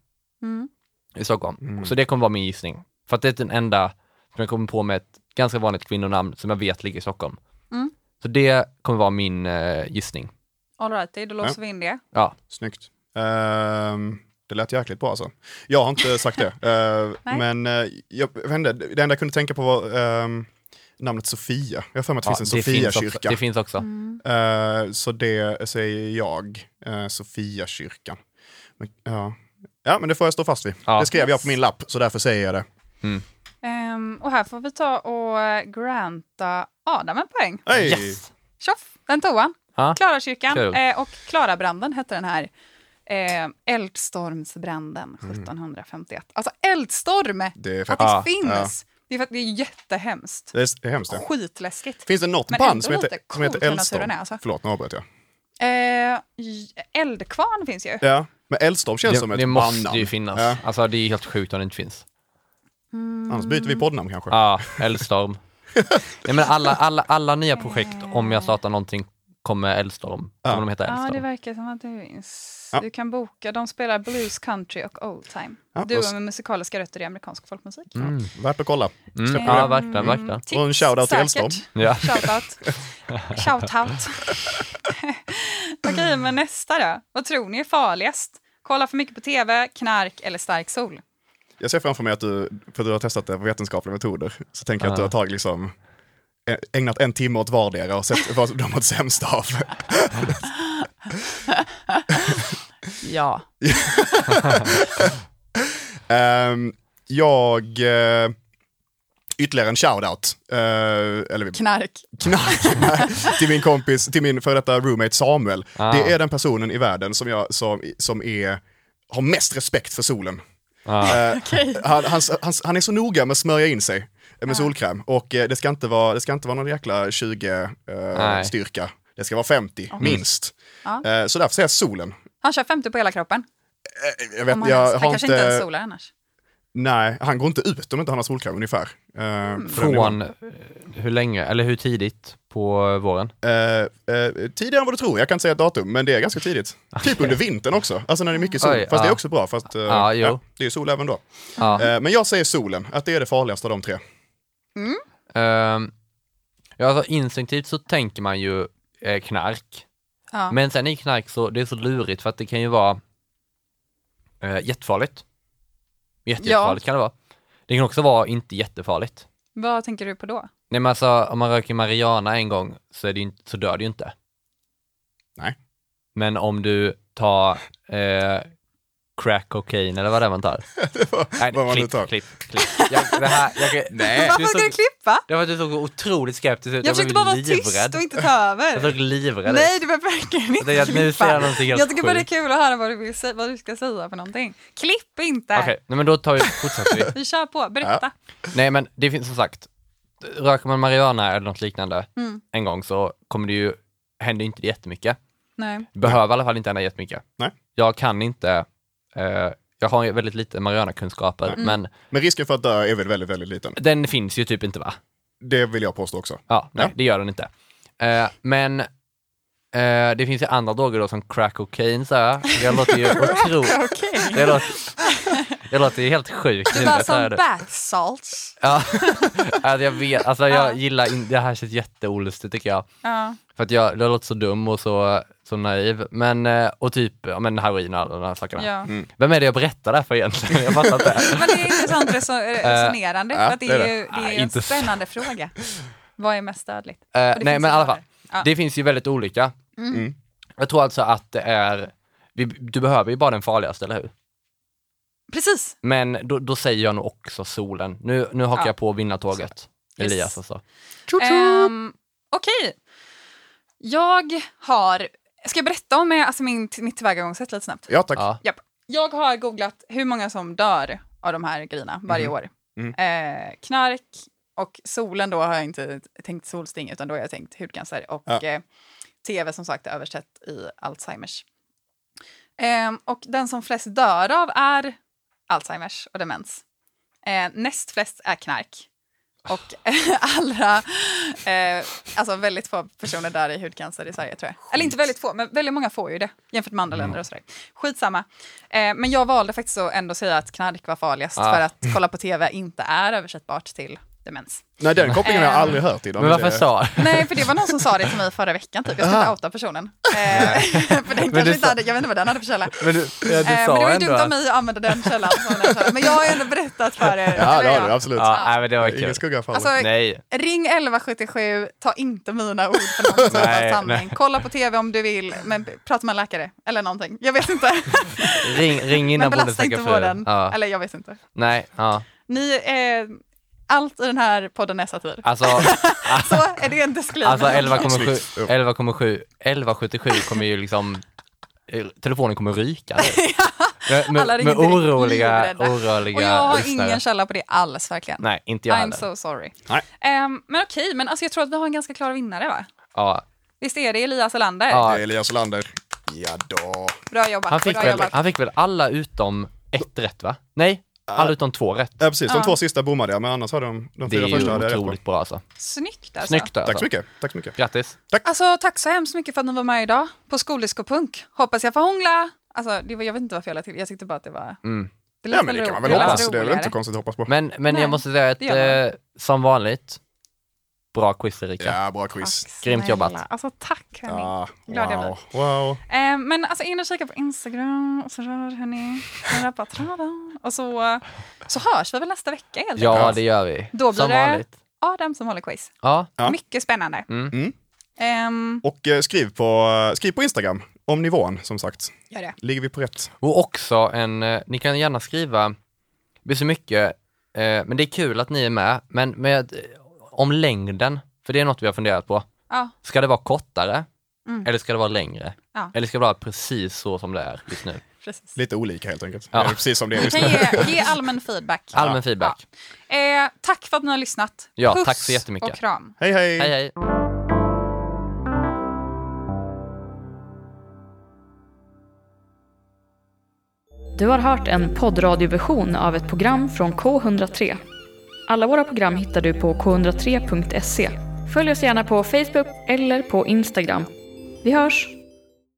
Speaker 3: Mm.
Speaker 5: i Stockholm.
Speaker 4: Mm.
Speaker 5: Så det kommer vara min gissning. För att det är den enda som jag kommer på med ett ganska vanligt kvinnonamn som jag vet ligger i Stockholm.
Speaker 3: Mm.
Speaker 5: Så det kommer vara min eh, gissning.
Speaker 3: All right, då låser vi in det.
Speaker 5: Ja,
Speaker 4: Snyggt. Ehm, det lät jäkligt bra alltså. Jag har inte sagt det. Ehm,
Speaker 3: Nej.
Speaker 4: men eh, jag, jag vet inte, det enda jag kunde tänka på var ehm, namnet Sofia. Jag har för mig att det
Speaker 5: ja
Speaker 4: finns en
Speaker 5: också,
Speaker 4: Sofiakyrka.
Speaker 5: det finns också.
Speaker 3: Mm.
Speaker 4: Ehm, så det säger jag, uh, Sofiakyrkan. Men, ja. ja, men det får jag stå fast vid.
Speaker 5: Ja.
Speaker 4: Det skrev jag på min lapp, så därför säger jag det.
Speaker 3: Ehm, och här får vi ta och granta Adam en poäng.
Speaker 4: Hej!
Speaker 5: Yes!
Speaker 3: Tjoff, den tog han.
Speaker 5: Ja.
Speaker 3: Klarakyrkan
Speaker 5: Kul.
Speaker 3: eh, och Klarabranden hette den här. Eh, eldstormsbranden 1751. Alltså eldstorm!
Speaker 4: Det är
Speaker 3: Att
Speaker 4: fett.
Speaker 3: det
Speaker 5: Mm. Ja,
Speaker 3: finns! Det är för att det är jättehemskt.
Speaker 4: Det är s- det är hemskt. det.
Speaker 3: Skitläskigt.
Speaker 4: Finns det något
Speaker 3: Men
Speaker 4: band
Speaker 3: ändå
Speaker 4: som heter,
Speaker 3: lite
Speaker 4: som heter
Speaker 3: coolt hur
Speaker 4: Eldstorm?
Speaker 3: naturen är, alltså.
Speaker 4: Förlåt, nu avbröt jag.
Speaker 3: Eh, j- eldkvarn finns ju.
Speaker 4: Ja, men Eldstorm känns som
Speaker 5: Det,
Speaker 4: ett
Speaker 5: det måste
Speaker 4: bandnamn.
Speaker 5: ju finnas.
Speaker 4: Ja.
Speaker 5: Alltså det är helt sjukt om det inte finns.
Speaker 4: Annars byter vi poddnamn kanske.
Speaker 5: Ja, eldstorm. Nej men alla, alla, alla nya projekt, om jag startar någonting, kommer eldstorm.
Speaker 4: Ja.
Speaker 5: Kommer de heta
Speaker 3: Ja,
Speaker 5: eldstorm.
Speaker 3: det verkar som att det finns.
Speaker 4: Ja.
Speaker 3: Du kan boka. De spelar blues, country och old time.
Speaker 4: Ja,
Speaker 3: du
Speaker 4: vad s-
Speaker 3: med musikaliska rötter i amerikansk folkmusik. Eh,
Speaker 5: Mm.
Speaker 4: Värt att kolla.
Speaker 5: Mm.
Speaker 4: Släpper
Speaker 5: Ja,
Speaker 4: det.
Speaker 5: verkligen, verkligen.
Speaker 4: Och en shoutout till
Speaker 3: säkert.
Speaker 4: Eldstorm.
Speaker 5: Ja.
Speaker 3: Shoutout. Shoutout. Okej, men nästa då. Vad tror ni är farligast? Kolla för mycket på tv, knark eller stark sol?
Speaker 4: Jag ser framför mig att du, för du har testat det på vetenskapliga metoder, så tänker jag att du
Speaker 5: Ja.
Speaker 4: har tagit liksom ä- ägnat en timme åt vardera och sett vad de har varit sämst av.
Speaker 3: Ja.
Speaker 4: Ehm, jag... eh, ytterligare en shoutout. Uh, eller
Speaker 3: Knark.
Speaker 4: knark nej, till min kompis, till min före detta roommate Samuel.
Speaker 5: Ah.
Speaker 4: Det är den personen i världen som, jag, som, som är, har mest respekt för solen.
Speaker 5: Ja.
Speaker 4: Eh, han, han, han, han är så noga med att smörja in sig med
Speaker 3: Ah.
Speaker 4: solkräm och eh, det ska inte vara, det ska inte vara någon jäkla 20 eh,
Speaker 5: Nej.
Speaker 4: styrka. Det ska vara 50
Speaker 3: Ah.
Speaker 4: minst.
Speaker 3: Ja.
Speaker 4: Eh, så därför säger jag solen.
Speaker 3: Han kör 50 på hela kroppen.
Speaker 4: Eh, jag vet,
Speaker 3: Om han ens,
Speaker 4: jag
Speaker 3: han
Speaker 4: har
Speaker 3: kanske inte ens
Speaker 4: inte,
Speaker 3: solar annars.
Speaker 4: nej, han går inte ut om inte han har solkräm ungefär. Eh, på den nivån.
Speaker 5: Från eh, hur länge, eller hur tidigt på våren?
Speaker 4: Eh, eh, tidigare än vad du tror, jag kan inte säga ett datum, men det är ganska tidigt. Typ under vintern också, alltså när det är mycket sol.
Speaker 5: Oj,
Speaker 4: fast det är
Speaker 5: ja.
Speaker 4: också bra, fast eh,
Speaker 5: Ja, jo.
Speaker 4: ja, det är ju sol även då.
Speaker 5: Ja.
Speaker 4: Eh, men jag säger solen, att det är det farligaste av de tre.
Speaker 5: Ehm, ja, alltså instinktivt så tänker man ju eh, knark.
Speaker 3: Ja.
Speaker 5: Men sen i knark så, det är så lurigt för att det kan ju vara eh, jättefarligt. Jätte-
Speaker 3: Ja.
Speaker 5: Jättefarligt kan det vara. Det kan också vara inte jättefarligt.
Speaker 3: Vad tänker du på då?
Speaker 5: Nej men alltså om man röker marijuana en gång så, är det ju inte, så dör det ju inte.
Speaker 4: Nej.
Speaker 5: Men om du tar eh, crack cocaine eller vad det är man tar. Nej,
Speaker 4: vad man nu
Speaker 5: klipp,
Speaker 4: tar.
Speaker 5: klipp, klipp. Jag, det här, jag, Nej.
Speaker 3: Varför ska du klippa?
Speaker 5: Det var att du såg otroligt skeptisk ut.
Speaker 3: Jag försökte bara vara tyst och inte ta
Speaker 5: Jag
Speaker 3: över.
Speaker 5: försökte livrädd.
Speaker 3: Nej, du behöver verkligen
Speaker 5: Det är
Speaker 3: inte
Speaker 5: att nu säger jag
Speaker 3: klippa.
Speaker 5: någonting helt
Speaker 3: Jag tycker bara det är
Speaker 5: sjukt.
Speaker 3: kul att höra vad du, vill, sä- vad du ska säga för någonting. Klipp inte!
Speaker 5: Okej, nej, men då tar vi, fortsätter vi.
Speaker 3: Vi kör på, berätta.
Speaker 5: Nej men det finns som sagt, röker man marijuana eller något liknande
Speaker 3: Mm.
Speaker 5: en gång så kommer det ju, händer inte det jättemycket.
Speaker 3: Nej.
Speaker 5: Det Behöver i alla fall inte hända jättemycket.
Speaker 4: Nej.
Speaker 5: Jag kan inte, eh, jag har ju väldigt lite marijuana-kunskaper
Speaker 3: Mm.
Speaker 5: men
Speaker 4: Men risken för att dö är väl väldigt, väldigt liten.
Speaker 5: den finns ju typ inte va?
Speaker 4: Det vill jag påstå också.
Speaker 5: Ja, nej,
Speaker 4: Ja.
Speaker 5: det gör den inte. Eh, men eh, det finns ju andra droger då som crack cocaine så här. Jag låter ju otroligt... Jag låter, jag låter ju helt sjuk
Speaker 3: Det
Speaker 5: nu,
Speaker 3: var
Speaker 5: jag tar
Speaker 3: som
Speaker 5: det.
Speaker 3: bath salts.
Speaker 5: Ja, alltså jag vet, alltså
Speaker 3: Ja.
Speaker 5: jag gillar in, det här känns jätteolustigt tycker jag.
Speaker 3: Ja.
Speaker 5: För att jag, jag låter så dum och så, så naiv. Men, eh, och typ, ja men heroin och alla de här sakerna.
Speaker 3: Ja.
Speaker 4: Mm.
Speaker 5: Vem är det jag berättar det här för egentligen? Jag fattar inte. Eh,
Speaker 3: Men det är intressant reso- resonerande, för
Speaker 4: Eh, ja,
Speaker 3: att det
Speaker 4: det är
Speaker 3: är ju det är
Speaker 5: Nej,
Speaker 3: en
Speaker 5: inte så.
Speaker 3: spännande fråga. Vad är mest dödligt?
Speaker 5: Eh,
Speaker 3: Och det
Speaker 5: nej
Speaker 3: finns
Speaker 5: men i
Speaker 3: ju
Speaker 5: alla
Speaker 3: svaret.
Speaker 5: fall,
Speaker 3: Ja.
Speaker 5: det finns ju väldigt olika.
Speaker 4: Mm.
Speaker 5: Jag tror alltså att det är, vi, du behöver ju bara den farligaste, eller hur?
Speaker 3: Precis!
Speaker 5: Men då, då säger jag nog också solen. Nu, nu hakar
Speaker 3: Ja.
Speaker 5: jag på vinnartåget.
Speaker 3: Yes.
Speaker 5: Elias alltså.
Speaker 3: Ehm, Okej. Jag har... Ska jag berätta om eh, alltså min, mitt tillvägagångssätt lite snabbt?
Speaker 4: Ja tack.
Speaker 5: Ja.
Speaker 3: Japp. Jag har googlat hur många som dör av de här grejerna varje år.
Speaker 4: Mm.
Speaker 3: Eh, knark och solen då har jag inte tänkt solsting utan då har jag tänkt hudcancer och
Speaker 4: Ja.
Speaker 3: eh, tv som sagt översatt i Alzheimers. Eh, och den som flest dör av är Alzheimers och demens. Eh, näst flest är knark. Och allra, eh, alltså väldigt få personer dör i hudcancer i Sverige tror jag. Eller inte väldigt få, men väldigt många får ju det jämfört med andra länder och sådär. Skitsamma. Eh, men jag valde faktiskt att ändå säga att knark var farligast
Speaker 5: Ah.
Speaker 3: för att kolla på tv inte är översättbart till demens.
Speaker 4: Nej den kopplingen har jag
Speaker 3: Ehm.
Speaker 4: aldrig hört idag.
Speaker 5: Men varför
Speaker 4: det-
Speaker 5: sa
Speaker 3: Nej, för det var någon som sa det till mig förra veckan typ. Jag ska inte outa personen. Eh, för den kanske
Speaker 5: du
Speaker 3: inte
Speaker 5: sa-
Speaker 3: hade, jag vet inte vad den hade för källa.
Speaker 5: men du, ja,
Speaker 3: Eh, men det var ju dumt av mig att använda den källan. som den källan. Men jag har ju ändå berättat för er.
Speaker 4: Ja det
Speaker 3: eller
Speaker 4: har du,
Speaker 3: ja.
Speaker 4: absolut.
Speaker 5: Ja, nej, men det var kul.
Speaker 4: Ingen skugga faller.
Speaker 3: Alltså,
Speaker 5: Nej.
Speaker 3: Ring 1177, ta inte mina ord för någon som
Speaker 5: Nej,
Speaker 3: är sanning.
Speaker 5: nej.
Speaker 3: Kolla på tv om du vill, men prata med en läkare eller någonting. Jag vet inte.
Speaker 5: Ring, ring
Speaker 3: men
Speaker 5: innan Bonde
Speaker 3: belasta
Speaker 5: söker
Speaker 3: inte
Speaker 5: fru.
Speaker 3: vården.
Speaker 5: Ja.
Speaker 3: Eller jag vet inte.
Speaker 5: Nej, ja.
Speaker 3: Ni eh, Allt i den här podden är satir.
Speaker 5: Alltså,
Speaker 3: Så är det en disclaimer.
Speaker 5: alltså 11,7
Speaker 4: Snyggt.
Speaker 5: 11,7 11,77 kommer ju liksom eh, telefonen kommer ryka nu. med,
Speaker 3: Alla
Speaker 5: med,
Speaker 3: ringer
Speaker 5: med
Speaker 3: direkt
Speaker 5: oroliga,
Speaker 3: livrädda.
Speaker 5: oroliga
Speaker 3: Och jag har
Speaker 5: lyssnare.
Speaker 3: ingen källa på det alls verkligen.
Speaker 5: Nej, inte jag
Speaker 3: I'm
Speaker 5: heller.
Speaker 3: so sorry.
Speaker 4: Nej.
Speaker 3: Ehm, men okej, men alltså jag tror att vi har en ganska klar vinnare va?
Speaker 5: Ja,
Speaker 3: Visst är det Elias Elander?
Speaker 5: Ja.
Speaker 4: Det är Elias Olander. Ja då.
Speaker 3: Bra jobbat.
Speaker 5: han, fick
Speaker 3: bra
Speaker 5: väl,
Speaker 3: jobbat.
Speaker 5: han fick väl alla utom ett rätt va? Nej,
Speaker 4: Äh,
Speaker 5: alla utom två rätt.
Speaker 4: Ja, precis. De
Speaker 3: Ja.
Speaker 4: två sista bommade jag, men annars hade de, de
Speaker 5: Det är
Speaker 4: fyra första hade
Speaker 5: ju
Speaker 4: jag rätt på.
Speaker 5: otroligt bra alltså.
Speaker 3: Snyggt alltså.
Speaker 5: Snyggt alltså.
Speaker 4: Tack så mycket. Tack så mycket.
Speaker 5: Grattis.
Speaker 3: Alltså tack så hemskt mycket för att ni var med idag på Skoldisco-punk. Hoppas jag får hångla. Alltså det var, jag vet inte varför jag lade till, jag tyckte bara att det var...
Speaker 5: Mm.
Speaker 3: Det
Speaker 4: Ja, men det kan man väl
Speaker 5: Det lät
Speaker 4: hoppas. Det är väl inte så konstigt att hoppas på.
Speaker 5: Men, men
Speaker 3: Nej,
Speaker 5: jag måste säga att
Speaker 3: det gör
Speaker 5: eh, som vanligt, bra quiz Erika.
Speaker 4: Ja, bra quiz.
Speaker 5: Grymt jobbat.
Speaker 3: Alltså tack hörni.
Speaker 4: Ja,
Speaker 3: Glad jag
Speaker 4: wow. wow.
Speaker 3: Eh, men alltså in och kika på Instagram och så rör hörni, den rappa traven. Och så, så hörs vi väl nästa vecka helt enkelt.
Speaker 5: Ja, det gör vi.
Speaker 3: Då blir
Speaker 5: som
Speaker 3: det-
Speaker 5: vanligt.
Speaker 3: Adam som håller quiz.
Speaker 5: Ja,
Speaker 4: Ja.
Speaker 3: Mycket spännande.
Speaker 5: Mm.
Speaker 4: Mm.
Speaker 3: Ehm,
Speaker 4: Och eh, skriv, på, skriv på Instagram om nivån, som sagt.
Speaker 3: gör det.
Speaker 4: Ligger vi på rätt?
Speaker 5: och också en, eh, ni kan gärna skriva, det blir så mycket, eh, men det är kul att ni är med, men med, eh, om längden, för det är något vi har funderat på.
Speaker 3: Ja,
Speaker 5: Ska det vara kortare?
Speaker 3: Mm.
Speaker 5: Eller ska det vara längre?
Speaker 3: Ja.
Speaker 5: Eller ska det vara precis så som det är just nu?
Speaker 3: precis.
Speaker 4: Lite olika helt enkelt.
Speaker 5: Ja.
Speaker 4: Det är precis som det är
Speaker 3: Vi
Speaker 4: just
Speaker 3: kan
Speaker 4: nu.
Speaker 3: ge, ge allmän feedback.
Speaker 5: Allmän feedback.
Speaker 3: Eh, tack för att ni har lyssnat.
Speaker 5: Ja,
Speaker 3: Puss
Speaker 5: tack så jättemycket.
Speaker 3: och kram.
Speaker 4: Hej, hej!
Speaker 5: Hej hej!
Speaker 1: Du har hört en poddradioversion av ett program från K103. Alla våra program hittar du på k103.se. Följ oss gärna på Facebook eller på Instagram. Vi hörs!